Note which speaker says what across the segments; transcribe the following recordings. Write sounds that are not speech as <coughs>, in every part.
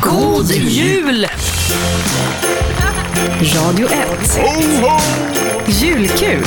Speaker 1: God jul! Radio 1. Julkul.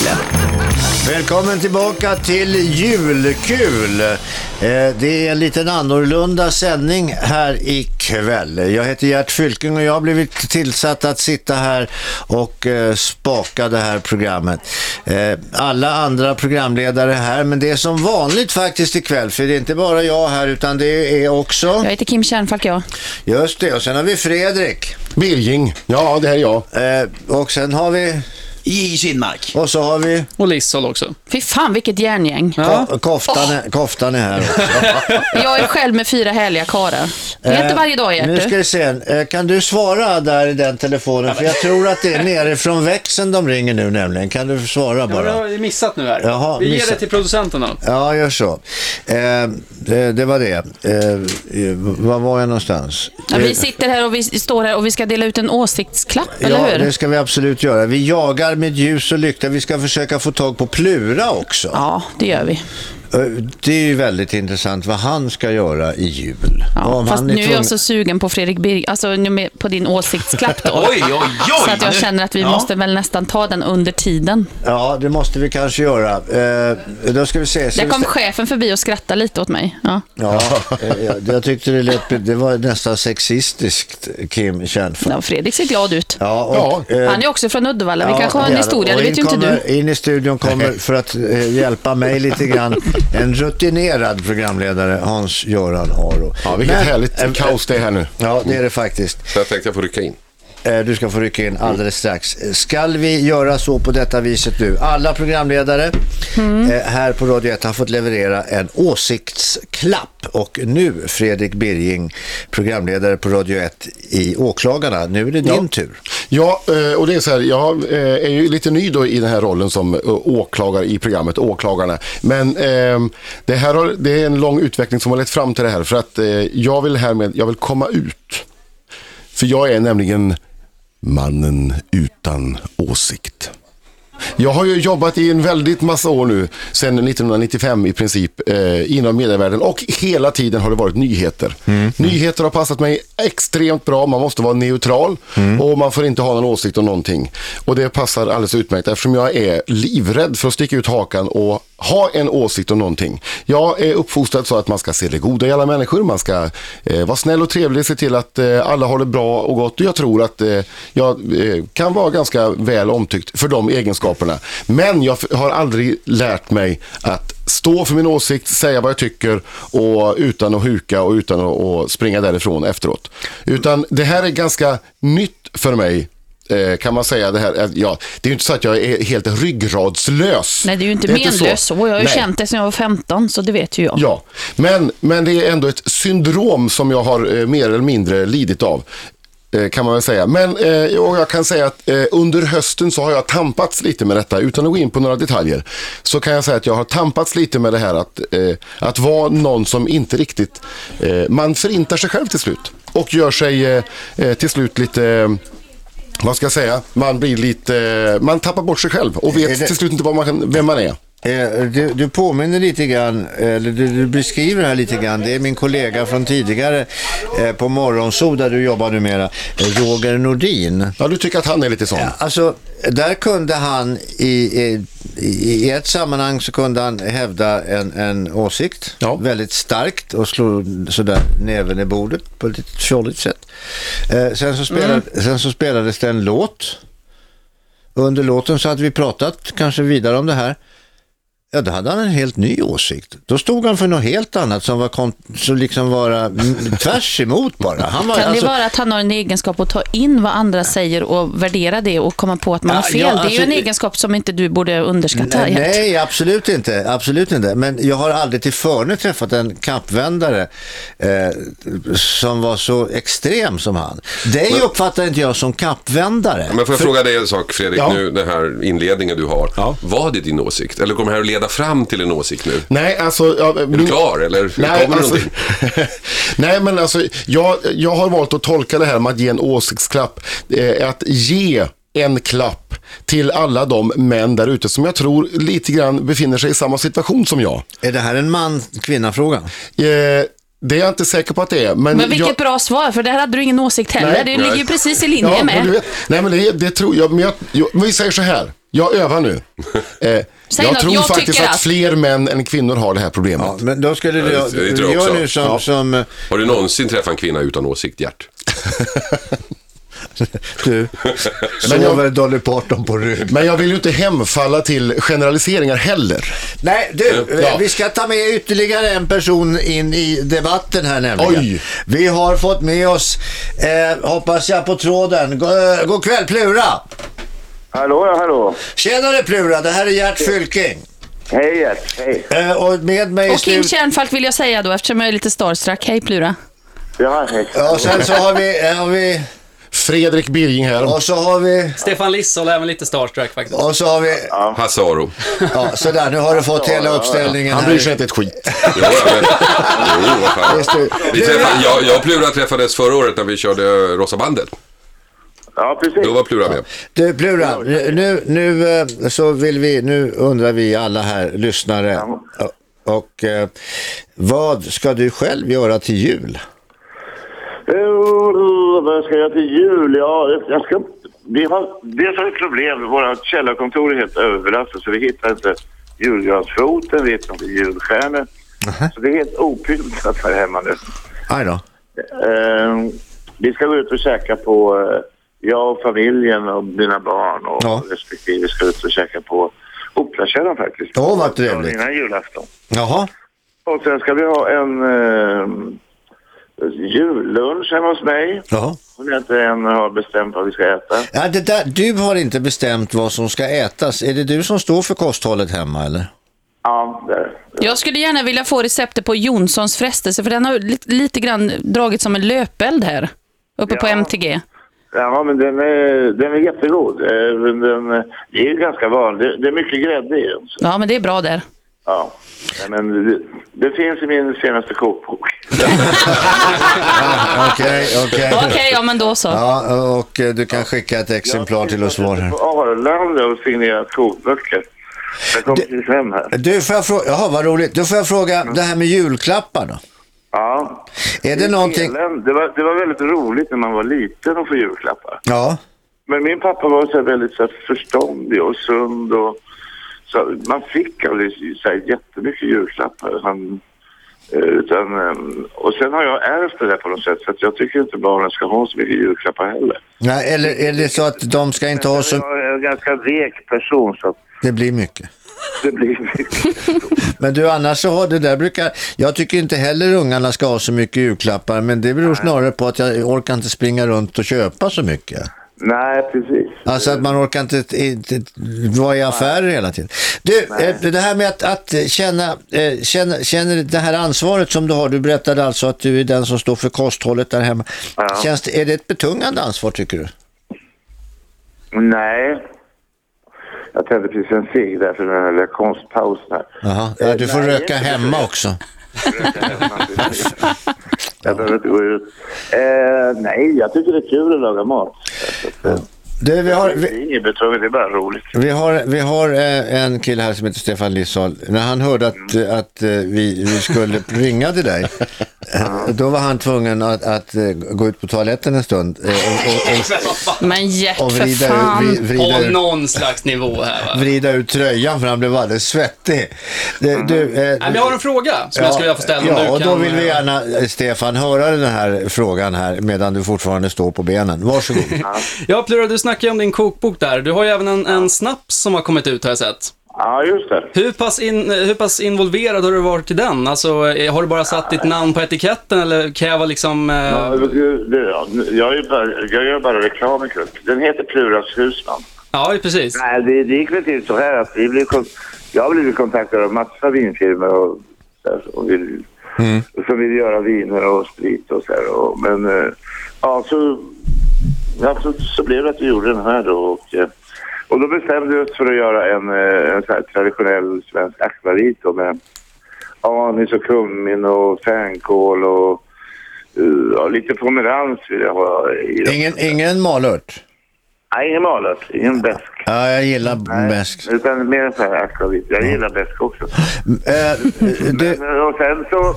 Speaker 2: Välkommen tillbaka till Julkul. Eh, Det är en liten annorlunda sändning här ikväll. Jag heter Gert Fylking och jag har blivit tillsatt att sitta här och eh, spaka det här programmet. Eh, Alla andra programledare är här, men det är som vanligt faktiskt ikväll, för det är inte bara jag här utan det är också...
Speaker 3: Jag heter Kim Kärnfalk jag.
Speaker 2: Just det, och sen har vi Fredrik.
Speaker 4: Birging. Ja, det här är jag.
Speaker 2: Eh, Och sen har vi...
Speaker 5: I Kinmark.
Speaker 2: Och så har vi...
Speaker 6: Och Lissol också.
Speaker 3: Fy fan vilket järngäng.
Speaker 2: Ko- Koftan,
Speaker 3: Oh.
Speaker 2: är, koftan är här också.
Speaker 3: Jag är själv med fyra härliga karlar. Det är inte varje dag
Speaker 2: Eh, Nu ska
Speaker 3: Gert.
Speaker 2: vi se. Eh, Kan du svara där i den telefonen? För jag tror att det är nerifrån växeln de ringer nu nämligen. Kan du svara
Speaker 6: Ja, det har
Speaker 2: bara?
Speaker 6: vi missat nu här.
Speaker 2: Jaha,
Speaker 6: vi ger
Speaker 2: missat.
Speaker 6: det till producenterna.
Speaker 2: Ja, gör så. Eh, det, det var det. Eh, eh, var var jag någonstans? Eh,
Speaker 3: Ja, vi sitter här och vi står här och vi ska dela ut en åsiktsklapp, eller
Speaker 2: Ja,
Speaker 3: hur?
Speaker 2: det ska vi absolut göra. Vi jagar med ljus och lykta. Vi ska försöka få tag på Plura också.
Speaker 3: Ja, det gör vi.
Speaker 2: Eh, Det är ju väldigt intressant vad han ska göra i jul. Och
Speaker 3: Ja,
Speaker 2: om
Speaker 3: fast
Speaker 2: han
Speaker 3: nu är
Speaker 2: tvungen-
Speaker 3: jag så sugen på Fredrik Birg, alltså nu med, på din åsiktsklapp då.
Speaker 5: Oj, oj, oj!
Speaker 3: Så att jag känner att vi
Speaker 5: Ja.
Speaker 3: måste väl nästan ta den under tiden.
Speaker 2: Ja, det måste vi kanske göra. Eh, då ska vi se. Ska
Speaker 3: Där
Speaker 2: vi
Speaker 3: kom
Speaker 2: se-
Speaker 3: chefen förbi och skrattade lite åt mig. Ja.
Speaker 2: Ja, eh, jag, jag tyckte det lät, det var nästan sexistiskt, Kim Kärnfeldt.
Speaker 3: Ja, Fredrik ser glad ut.
Speaker 2: Ja, och, eh,
Speaker 3: Han är också från Uddevalla, vi
Speaker 2: ja,
Speaker 3: kanske har en
Speaker 2: gärna.
Speaker 3: historia,
Speaker 2: Och
Speaker 3: det
Speaker 2: in
Speaker 3: vet ju inte
Speaker 2: kommer,
Speaker 3: du.
Speaker 2: In i studion kommer, för att eh, hjälpa mig lite grann, en rutinerad programledare, Hans-Göran Aro.
Speaker 4: Ja, vilket
Speaker 2: Men-
Speaker 4: härligt
Speaker 2: eh,
Speaker 4: kaos det är här nu.
Speaker 2: Ja, det är det faktiskt.
Speaker 7: Så jag tänkte jag får rycka in.
Speaker 2: Eh, Du ska få rycka in alldeles strax. Eh, Skall vi göra så på detta viset nu? Alla programledare
Speaker 3: Mm.
Speaker 2: eh, här på Radio 1 har fått leverera en åsiktsklapp. Och nu, Fredrik Birging, programledare på Radio 1 i Åklagarna, nu är det din tur.
Speaker 4: Ja, eh, och det är så här, jag eh, är ju lite ny då i den här rollen som eh, åklagare i programmet Åklagarna. Men eh, det här har, det är en lång utveckling som har lett fram till det här. För att eh, jag vill härmed, jag vill komma ut. För jag är nämligen mannen utan åsikt. Jag har ju jobbat i en väldigt massa år nu, sedan 1995 i princip, eh, inom medievärlden och hela tiden har det varit nyheter.
Speaker 8: Mm.
Speaker 4: Nyheter har passat mig extremt bra, man måste vara neutral och man får inte ha någon åsikt om någonting. Och det passar alldeles utmärkt eftersom jag är livrädd för att sticka ut hakan och ha en åsikt om någonting. Jag är uppfostrad så att man ska se det goda i alla människor, man ska eh, vara snäll och trevlig, se till att eh, alla har det bra och gott. Och Jag tror att eh, jag eh, kan vara ganska väl omtyckt för de egenskaperna. Men jag f- har aldrig lärt mig att stå för min åsikt, säga vad jag tycker och utan att huka och utan att att springa därifrån efteråt. Utan det här är ganska nytt för mig. eh, Kan man säga det här, eh, ja, det är ju inte så att jag är helt ryggradslös.
Speaker 3: Nej, det är ju inte
Speaker 4: Det är inte så.
Speaker 3: menlös så. Jag har ju
Speaker 4: Nej.
Speaker 3: känt det sedan jag var 15, så det vet ju jag.
Speaker 4: Ja, men, men det är ändå ett syndrom som jag har eh, mer eller mindre lidit av. eh, Kan man väl säga. Men eh, och jag kan säga att eh, under hösten så har jag tampats lite med detta. Utan att gå in på några detaljer. Så kan jag säga att jag har tampats lite med det här att, eh, att vara någon som inte riktigt... Eh, man förintar sig själv till slut. Och gör sig eh, eh, till slut lite... eh, Vad ska jag säga? Man blir lite... eh, Man tappar bort sig själv och
Speaker 2: Är
Speaker 4: vet
Speaker 2: det-
Speaker 4: till slut inte vad man, kan- vem man är.
Speaker 2: Eh, Du, du påminner lite grann, eller du, du beskriver det här lite grann, det är min kollega från tidigare eh, på Morgonzoo där du jobbar numera, eh, Roger Nordin.
Speaker 4: Ja, du tycker att han är lite sån.
Speaker 2: Alltså, där kunde han i, i, i ett sammanhang så kunde han hävda en, en åsikt
Speaker 4: Ja.
Speaker 2: väldigt starkt och slå sådär näven i bordet på ett lite tjolligt sätt. Eh, sen, så spelade,
Speaker 4: Mm.
Speaker 2: sen så spelades det en låt. Under låten så hade vi pratat kanske vidare om det här. Ja, då hade han en helt ny åsikt. Då stod han för något helt annat som var kont- som liksom vara
Speaker 7: <laughs>
Speaker 2: mm, tvärs emot bara. Han var,
Speaker 3: Kan
Speaker 2: alltså-
Speaker 3: det vara att han har en egenskap att ta in vad andra säger och värdera det och komma på att man
Speaker 2: Ja,
Speaker 3: har fel?
Speaker 2: ja,
Speaker 3: det är ju
Speaker 2: alltså-
Speaker 3: en egenskap som inte du borde underskatta.
Speaker 2: Nej,
Speaker 3: Gert.
Speaker 2: nej, absolut inte. Absolut inte. Men jag har aldrig till förne träffat en kappvändare eh, som var så extrem som han. Dig uppfattar inte jag som kappvändare.
Speaker 7: Men får jag fråga dig en sak Fredrik,
Speaker 4: Ja.
Speaker 7: nu den här inledningen du har.
Speaker 4: Ja.
Speaker 7: Var det din åsikt? Eller kommer det här att leda fram till en åsikt nu?
Speaker 4: Nej, alltså... Ja,
Speaker 7: Är du klar eller
Speaker 4: Nej,
Speaker 7: kommer
Speaker 4: alltså,
Speaker 7: alltså... någonting?
Speaker 4: nej, men alltså jag, jag har valt att tolka det här med att ge en åsiktsklapp. Eh, att ge en klapp till alla de män där ute som jag tror lite grann befinner sig i samma situation som jag.
Speaker 2: Är det här en man-kvinna-fråga?
Speaker 4: Eh, Det är jag inte säker på att det är. Men,
Speaker 3: Men vilket
Speaker 4: jag...
Speaker 3: bra svar, för där hade du ingen åsikt heller.
Speaker 4: Nej.
Speaker 3: det
Speaker 7: Nej.
Speaker 3: ligger ju precis i linje
Speaker 4: Ja, men
Speaker 3: med.
Speaker 4: du vet, nej men det, det tror jag, men jag, jag, men vi säger så här, jag
Speaker 3: <laughs>
Speaker 4: övar nu. Eh, jag
Speaker 3: något,
Speaker 4: tror
Speaker 3: jag
Speaker 4: faktiskt
Speaker 3: tycker
Speaker 4: att
Speaker 3: att-
Speaker 4: fler män än kvinnor har det här problemet.
Speaker 2: Ja, men då skulle du,
Speaker 7: Ja, det- det tror
Speaker 2: du
Speaker 7: jag
Speaker 2: gör
Speaker 7: också.
Speaker 2: nu som,
Speaker 7: Ja.
Speaker 2: som eh,
Speaker 7: Har du någonsin träffat en kvinna utan åsikt, Gert?
Speaker 2: du sover Dolly Parton på rygg.
Speaker 4: Men jag vill ju inte hemfalla till generaliseringar heller.
Speaker 2: Nej, du, eh,
Speaker 4: Ja.
Speaker 2: vi ska ta med ytterligare en person in i debatten här nämligen.
Speaker 4: Oj.
Speaker 2: Vi har fått med oss, eh, hoppas jag, på tråden. God, eh, god kväll Plura!
Speaker 8: Hallå, ja, hallå.
Speaker 2: Tjenare Plura, det här är Gert Fylking.
Speaker 8: Hej, Gert. Hej.
Speaker 2: Eh, och med mig i
Speaker 3: Och Kim
Speaker 2: studion...
Speaker 3: Kärnfalk vill jag säga då, eftersom jag är lite starstruck. Hej Plura.
Speaker 8: Ja, hej.
Speaker 2: Ja, och sen så har vi, eh, har vi,
Speaker 4: Fredrik Birging här.
Speaker 2: och så har vi,
Speaker 6: Stefan Lissol är även lite starstruck faktiskt.
Speaker 2: och så har vi,
Speaker 7: Hasse Aro.
Speaker 2: ja sådär, nu har du fått hela uppställningen
Speaker 4: Han
Speaker 2: här.
Speaker 4: bryr sig inte ett skit.
Speaker 7: Jo, ja, men- jo, vad fan. Vi träffade, jag, jag och Plura träffades förra året när vi körde Rosa bandet.
Speaker 8: Ja, precis.
Speaker 7: Då var Plura med.
Speaker 2: Du Plura, nu, nu, eh, så vill vi, nu undrar vi alla här, lyssnare, och, och eh, vad ska du själv göra till jul?
Speaker 8: Eh, Vad ska jag till jul? Ja, jag ska... Vi har dels har vi problem. Våra källarkontor är helt överbelastat så vi hittar inte julgransfoten, vi hittar inte julstjärnor. Så det är helt opyntat här hemma nu.
Speaker 2: Aj då.
Speaker 8: Eh, vi ska gå ut och käka på, eh, jag och familjen och mina barn och
Speaker 2: Ja.
Speaker 8: respektive ska ut och käka på Operakällan faktiskt.
Speaker 2: Åh, vad trevligt.
Speaker 8: Innan julafton.
Speaker 2: Jaha.
Speaker 8: Och sen ska vi ha en eh, jullunch hemma hos mig.
Speaker 2: Jaha.
Speaker 8: Som jag inte än har bestämt vad vi ska äta.
Speaker 2: Ja, det där, du har inte bestämt vad som ska ätas. Är det du som står för kosthållet hemma <laughs> eller?
Speaker 8: Ja, där.
Speaker 3: Jag skulle gärna vilja få receptet på Jonssons frestelse, för den har li- lite grann dragit som en löpeld här. Uppe på
Speaker 8: Ja.
Speaker 3: MTG.
Speaker 8: ja men den är, den är jättegod. Eh, men Den, eh, det är ju ganska vanlig. Det är mycket grädde i den. så-
Speaker 3: Ja, men det är bra där.
Speaker 8: Ja. Nej, Men det, det finns i min senaste kokbok.
Speaker 2: Okej, okej.
Speaker 3: Okej, ja men då så.
Speaker 2: Ja, och eh, du kan skicka ett exemplar till oss var här.
Speaker 8: Jag har varit på Arlanda och signerat kokböcker. Jag kom precis hem här.
Speaker 2: Du, får jag fråga, jaha vad roligt. Då får jag fråga det här med julklappar då.
Speaker 8: Ja.
Speaker 2: Är det någonting?
Speaker 8: Elände. Det var, det var väldigt roligt när man var liten att få julklappar.
Speaker 2: Ja.
Speaker 8: Men min pappa var så här väldigt så här förståndig och sund. Och, så man fick aldrig så här jättemycket julklappar. Han, eh, utan, eh, och sen har jag ärvt det där på något sätt. Så att jag tycker inte barnen ska ha så mycket julklappar heller.
Speaker 2: Nej, eller är det så att de ska inte ha så...
Speaker 8: Jag är en ganska vek person så att
Speaker 2: Det blir mycket.
Speaker 8: det blir <laughs> mycket.
Speaker 2: Men du, annars så har det där brukar... Jag tycker inte heller ungarna ska ha så mycket julklappar, men det beror snarare på att jag orkar inte springa runt och köpa så mycket.
Speaker 8: Nej, precis.
Speaker 2: Alltså att man orkar inte, inte vara i affärer hela tiden. Du, eh, det här med att, att känna, eh, känna, känner det här ansvaret som du har, du berättade alltså att du är den som står för kosthållet där hemma.
Speaker 8: Ja.
Speaker 2: Känns det, är det ett betungande ansvar tycker du?
Speaker 8: Nej. Jag tände precis en cigg där för den här lilla konstpausen här.
Speaker 2: Jaha, ja, du får
Speaker 8: Eh, nej,
Speaker 2: röka
Speaker 8: inte
Speaker 2: hemma också.
Speaker 8: <laughs> Jag behöver inte gå ut. Eh, nej, jag tycker det är kul att laga mat.
Speaker 2: Du, vi har,
Speaker 8: Det
Speaker 2: vi,
Speaker 8: är inget betungt, det är bara roligt.
Speaker 2: vi har, vi har eh, en kille här som heter Stefan Lissal. När han hörde att,
Speaker 6: Mm.
Speaker 2: eh, att eh, vi, vi
Speaker 6: <laughs>
Speaker 2: skulle ringa till dig, eh, då var han tvungen att, att eh, gå ut på toaletten en stund eh, och, och, och,
Speaker 3: Men Gert,
Speaker 2: och
Speaker 3: för
Speaker 2: vrida,
Speaker 3: fan.
Speaker 2: vri- vrida,
Speaker 6: På
Speaker 2: ut,
Speaker 6: någon slags nivå här <laughs> va.
Speaker 2: vrida ut tröjan för han blev alldeles svettig. Du, du, eh,
Speaker 6: Nej, men jag har en fråga Mm. som
Speaker 2: ja,
Speaker 6: jag skulle vilja få ställa. om
Speaker 2: Ja,
Speaker 6: du
Speaker 2: och då
Speaker 6: kan,
Speaker 2: vill vi
Speaker 6: eh,
Speaker 2: gärna, eh, Stefan, höra den här frågan här medan du fortfarande står på benen. Varsågod.
Speaker 6: <laughs> Ja, Plura, du snackar ju om din kokbok där. Du har ju även en, en snaps som har kommit ut har jag sett.
Speaker 8: Ja, just det.
Speaker 6: Hur pass, in, hur pass involverad har du varit i den? Alltså, eh, har du bara satt ditt namn på etiketten eller kan jag vara liksom... eh,
Speaker 8: Ja, det- det- ja, Jag, är ju bara, jag gör bara reklam ikväll. Den heter Pluras husman.
Speaker 6: Ja, precis.
Speaker 8: Nej, det, det gick väl till så här att vi blev, kon- jag har blivit kontaktad av massa vinfirmor och, så här, som, vill,
Speaker 2: Mm.
Speaker 8: som vill göra viner och sprit och så här. Och, men eh, ja, så, ja, så, så blev det att vi gjorde den här då. Och, eh, och då bestämde vi oss för att göra en, eh, en så här traditionell svensk akvavit då med anis och kummin och fänkål och eh, ja, lite pomerans vill jag ha i den.
Speaker 2: Ingen, ingen malört?
Speaker 8: Nej, ingen malört, ingen bäsk.
Speaker 2: Ja, jag gillar bäsk.
Speaker 8: Utan mer så här akvavit. Jag gillar bäsk också.
Speaker 2: Eh, du,
Speaker 8: Men, och sen så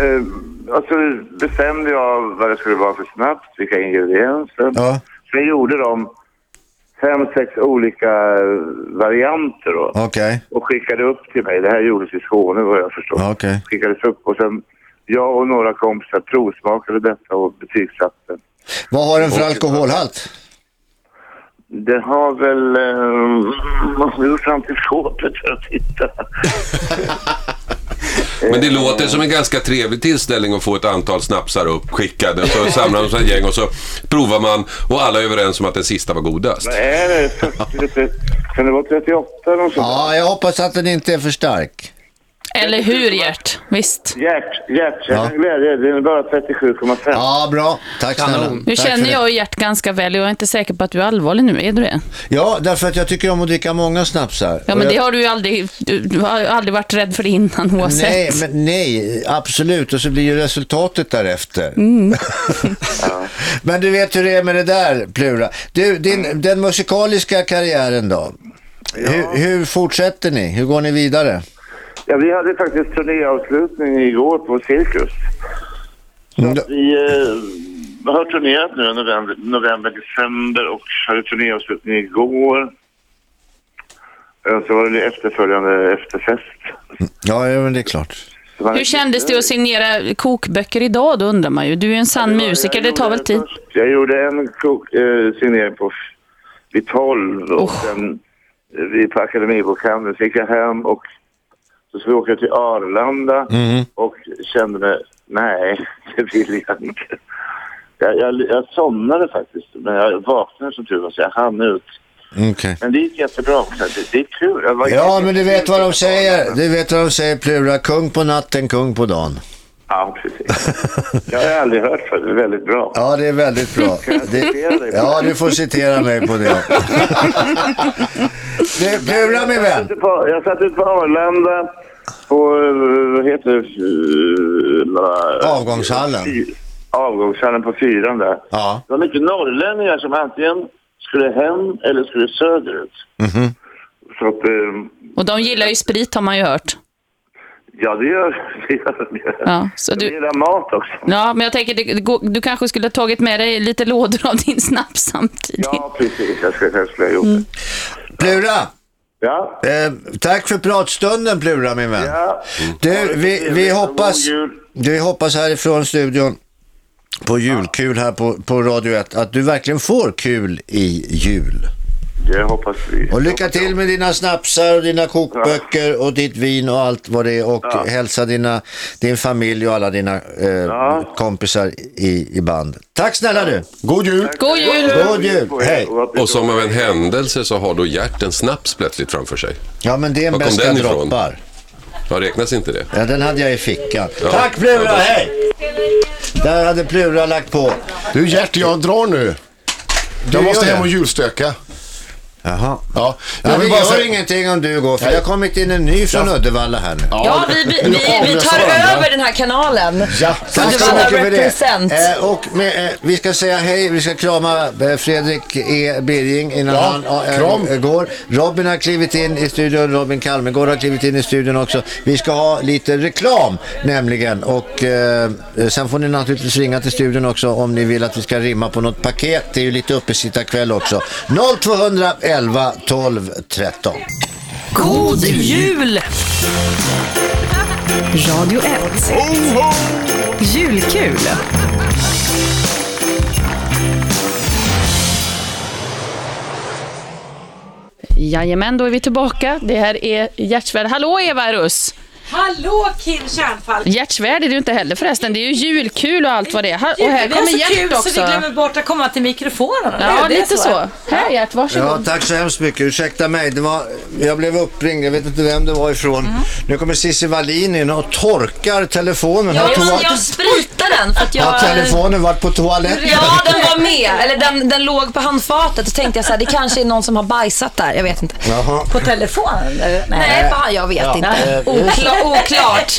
Speaker 8: eh, och så bestämde jag vad det skulle vara för snabbt, vilka ingredienser.
Speaker 2: Ja.
Speaker 8: Sen gjorde de fem, sex olika eh, varianter då,
Speaker 2: Okej.
Speaker 8: och skickade upp till mig. Det här gjordes i Skåne vad jag förstår.
Speaker 2: Okej.
Speaker 8: Skickades upp och sen jag och några kompisar provsmakade detta och betygsatte.
Speaker 2: Vad har den för alkoholhalt?
Speaker 8: Det har väl... Eh, <laughs> måste gå fram till skåpet för att titta.
Speaker 7: Men det låter som en ganska trevlig tillställning att få ett antal snapsar uppskickade. Så samlar de sig ett gäng och så provar man och alla är överens om att den sista var godast.
Speaker 8: Är det 40, lite- kan det vara 38 eller något sånt?
Speaker 2: Ja, jag hoppas att den inte är för stark.
Speaker 3: Eller hur, Gert? Visst.
Speaker 8: Hjärt, hjärt,
Speaker 2: Ja.
Speaker 8: hjärt, glädje. Det är bara 37,5.
Speaker 2: Ja, bra. Tack snälla.
Speaker 3: Nu
Speaker 2: Mm, Tack
Speaker 3: känner
Speaker 2: för
Speaker 3: jag
Speaker 2: det.
Speaker 3: ju Gert ganska väl och jag är inte säker på att du är allvarlig nu. Är du det?
Speaker 2: Ja, därför att jag tycker om att dricka många snapsar.
Speaker 3: Ja,
Speaker 2: Och
Speaker 3: men
Speaker 2: jag-
Speaker 3: det har du ju aldrig... Du, du har ju aldrig varit rädd för det innan oavsett.
Speaker 2: Nej, men nej, absolut. Och så blir ju resultatet därefter.
Speaker 3: Mm.
Speaker 2: <laughs> men du vet hur det är med det där, Plura. Du, din, den musikaliska karriären då? Hur, hur fortsätter ni? Hur går ni vidare?
Speaker 8: Ja, vi hade faktiskt turnéavslutning igår på Cirkus.
Speaker 2: Mm,
Speaker 8: Vi eh, har turnerat nu i november, november, december och hade turnéavslutning igår. Eh, Så var det efterföljande efterfest.
Speaker 2: Ja, ja, men det är klart.
Speaker 8: Så man-
Speaker 3: Hur kändes det att signera kokböcker idag då undrar man ju. Du är ju en sann musiker, det
Speaker 8: Jag
Speaker 3: tar väl
Speaker 8: gjorde
Speaker 3: tid?
Speaker 8: först- Jag gjorde en kok, eh, signering på f- vid 12 och sen eh, vi på Akademibokhandeln. Så gick jag hem och så skulle jag åka till Arlanda och kände mig, nej, <laughs> det vill jag inte. Jag, jag, jag somnade faktiskt, men jag vaknade som tur var så jag hann ut.
Speaker 2: Okej.
Speaker 8: Men det gick jättebra. också. Det, det är kul. Jag var
Speaker 2: Ja,
Speaker 8: jättekul
Speaker 2: men du vet vad de
Speaker 8: att
Speaker 2: säger.
Speaker 8: Arlanda.
Speaker 2: Du vet vad de säger, Plura. Kung på natten, kung på dagen.
Speaker 8: Ja, precis. Jag har aldrig hört för det. är Väldigt bra.
Speaker 2: Ja, det är väldigt bra.
Speaker 8: jag citera
Speaker 2: Det,
Speaker 8: dig på
Speaker 2: ja,
Speaker 8: det?
Speaker 2: du får citera mig
Speaker 8: <laughs>
Speaker 2: på det. du, Plura, min
Speaker 8: Jag
Speaker 2: vän.
Speaker 8: satt ut på- Jag satt ute på Arlanda på, eh, vad heter det? eh,
Speaker 2: Avgångshallen.
Speaker 8: fy- Avgångshallen på fyran där.
Speaker 2: Ja.
Speaker 8: Det var mycket norrlänningar som antingen skulle hem eller skulle söderut.
Speaker 2: Mhm.
Speaker 8: Så att, eh,
Speaker 3: Och de gillar ju sprit har man ju hört.
Speaker 8: ja det <laughs> gör det. Gör, det gör.
Speaker 3: Ja, så
Speaker 8: De
Speaker 3: du,
Speaker 8: gillar mat också.
Speaker 3: ja men jag tänker det- det går- du kanske skulle ha tagit med dig lite lådor av din snaps samtidigt.
Speaker 8: Ja, precis. Jag skulle kanske ha gjort det.
Speaker 2: Mm. Plura.
Speaker 8: Ja.
Speaker 2: Eh, tack för pratstunden Plura min vän.
Speaker 8: ja.
Speaker 2: Du, vi, vi,
Speaker 8: trevligt.
Speaker 2: hoppas,
Speaker 8: God jul.
Speaker 2: du, vi hoppas härifrån studion på julkul här på, på Radio 1 att du verkligen får kul i jul.
Speaker 8: Det hoppas vi.
Speaker 2: Och lycka till med dina snapsar och dina kokböcker och ditt vin och allt vad det är och hälsa dina, din familj och alla dina eh, kompisar i, i band. Tack snälla du!
Speaker 4: God jul!
Speaker 3: God jul!
Speaker 2: God jul! Hej!
Speaker 7: Och som av en händelse så har då Gert en snaps plötsligt framför sig.
Speaker 2: Ja men det är en
Speaker 7: Var kom
Speaker 2: bästa
Speaker 7: den ifrån?
Speaker 2: droppar.
Speaker 7: Ja, räknas inte det?
Speaker 2: Ja, den hade jag i fickan.
Speaker 7: Ja.
Speaker 2: Tack Plura,
Speaker 7: Ja, då-
Speaker 2: hej! Där hade Plura lagt på.
Speaker 4: Du Gert, jag drar nu.
Speaker 2: gör
Speaker 4: Jag måste
Speaker 2: det.
Speaker 4: hem och julstöka.
Speaker 2: Jaha.
Speaker 4: Ja, jag
Speaker 2: Ja, det
Speaker 4: vill bara
Speaker 2: gör
Speaker 4: säga-
Speaker 2: ingenting om du går, för
Speaker 4: Nej.
Speaker 2: det har kommit in en ny från
Speaker 4: Ja.
Speaker 2: Uddevalla här nu.
Speaker 1: Ja, vi, vi, vi, vi tar över den här kanalen.
Speaker 4: Ja,
Speaker 1: Så
Speaker 2: Tack
Speaker 1: det
Speaker 2: så
Speaker 1: var
Speaker 2: mycket för
Speaker 1: represent.
Speaker 2: det. Eh, och med, eh, vi ska säga hej, vi ska krama eh, Fredrik E. Birging innan
Speaker 4: Ja,
Speaker 2: han eh,
Speaker 4: kram.
Speaker 2: eh, går. Robin har klivit in i studion, Robin Kalmegård har klivit in i studion också. Vi ska ha lite reklam nämligen och eh, sen får ni naturligtvis ringa till studion också om ni vill att vi ska rimma på något paket. Det är ju lite uppesittarkväll också. 0211 12 13.
Speaker 1: God jul! Radio 1. Julkul.
Speaker 3: Jajamän, då är vi tillbaka. Det här är Gert Svärd. Hallå Eva Russ!
Speaker 9: Hallå Kim Kärnfalk!
Speaker 3: Gert Svärd är du inte heller förresten. Det är ju julkul och allt vad det är. Ha- Och här
Speaker 9: vi har
Speaker 3: kommer
Speaker 9: så
Speaker 3: Gert
Speaker 9: kul så
Speaker 3: också.
Speaker 9: vi glömmer bort att komma till mikrofonen.
Speaker 3: Ja,
Speaker 9: Det är
Speaker 3: lite så. Här Gert,
Speaker 2: Ja,
Speaker 3: varsågod.
Speaker 2: tack så hemskt mycket. Ursäkta mig, det var, jag blev uppringd. Jag vet inte vem det var ifrån.
Speaker 1: Mm.
Speaker 2: Nu kommer Cissi Wallin in och torkar telefonen.
Speaker 1: Ja,
Speaker 2: har, toa-
Speaker 1: jag, jag spritade den för att jag...
Speaker 2: har telefonen varit på toaletten?
Speaker 1: Ja, den var med. Eller den, den låg på handfatet. Då tänkte jag så här, det kanske är någon som har bajsat där. Jag vet inte.
Speaker 2: Jaha.
Speaker 9: På telefonen? Nej.
Speaker 1: Eh, Nej, fan jag vet
Speaker 2: eh,
Speaker 1: inte. Okla, oklart.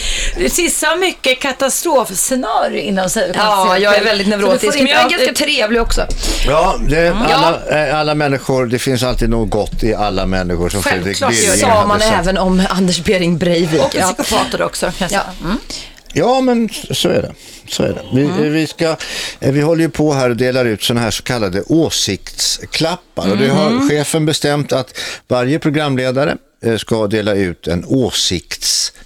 Speaker 9: Sissa har mycket katastrofscenario inom sig.
Speaker 1: Ja, jag är väldigt
Speaker 9: Så du får
Speaker 1: neurotisk. Men
Speaker 9: inte-
Speaker 1: jag är ganska trevlig också.
Speaker 2: Ja, det, alla, eh, alla människor, det finns alltid något gott i alla människor som
Speaker 9: Självklart
Speaker 2: Fredrik
Speaker 9: gör det.
Speaker 2: Birging
Speaker 1: Sa
Speaker 2: hade
Speaker 1: man
Speaker 2: sagt.
Speaker 1: även om Anders Bering Breivik.
Speaker 9: Och psykopater också. kan jag
Speaker 1: Ja.
Speaker 9: säga.
Speaker 2: Ja, men så är det. Så är det. Vi, eh, vi, ska, eh, vi håller ju på här och delar ut sådana här så kallade åsiktsklappar. Och det har chefen bestämt att varje programledare eh, ska dela ut en åsiktsklapp.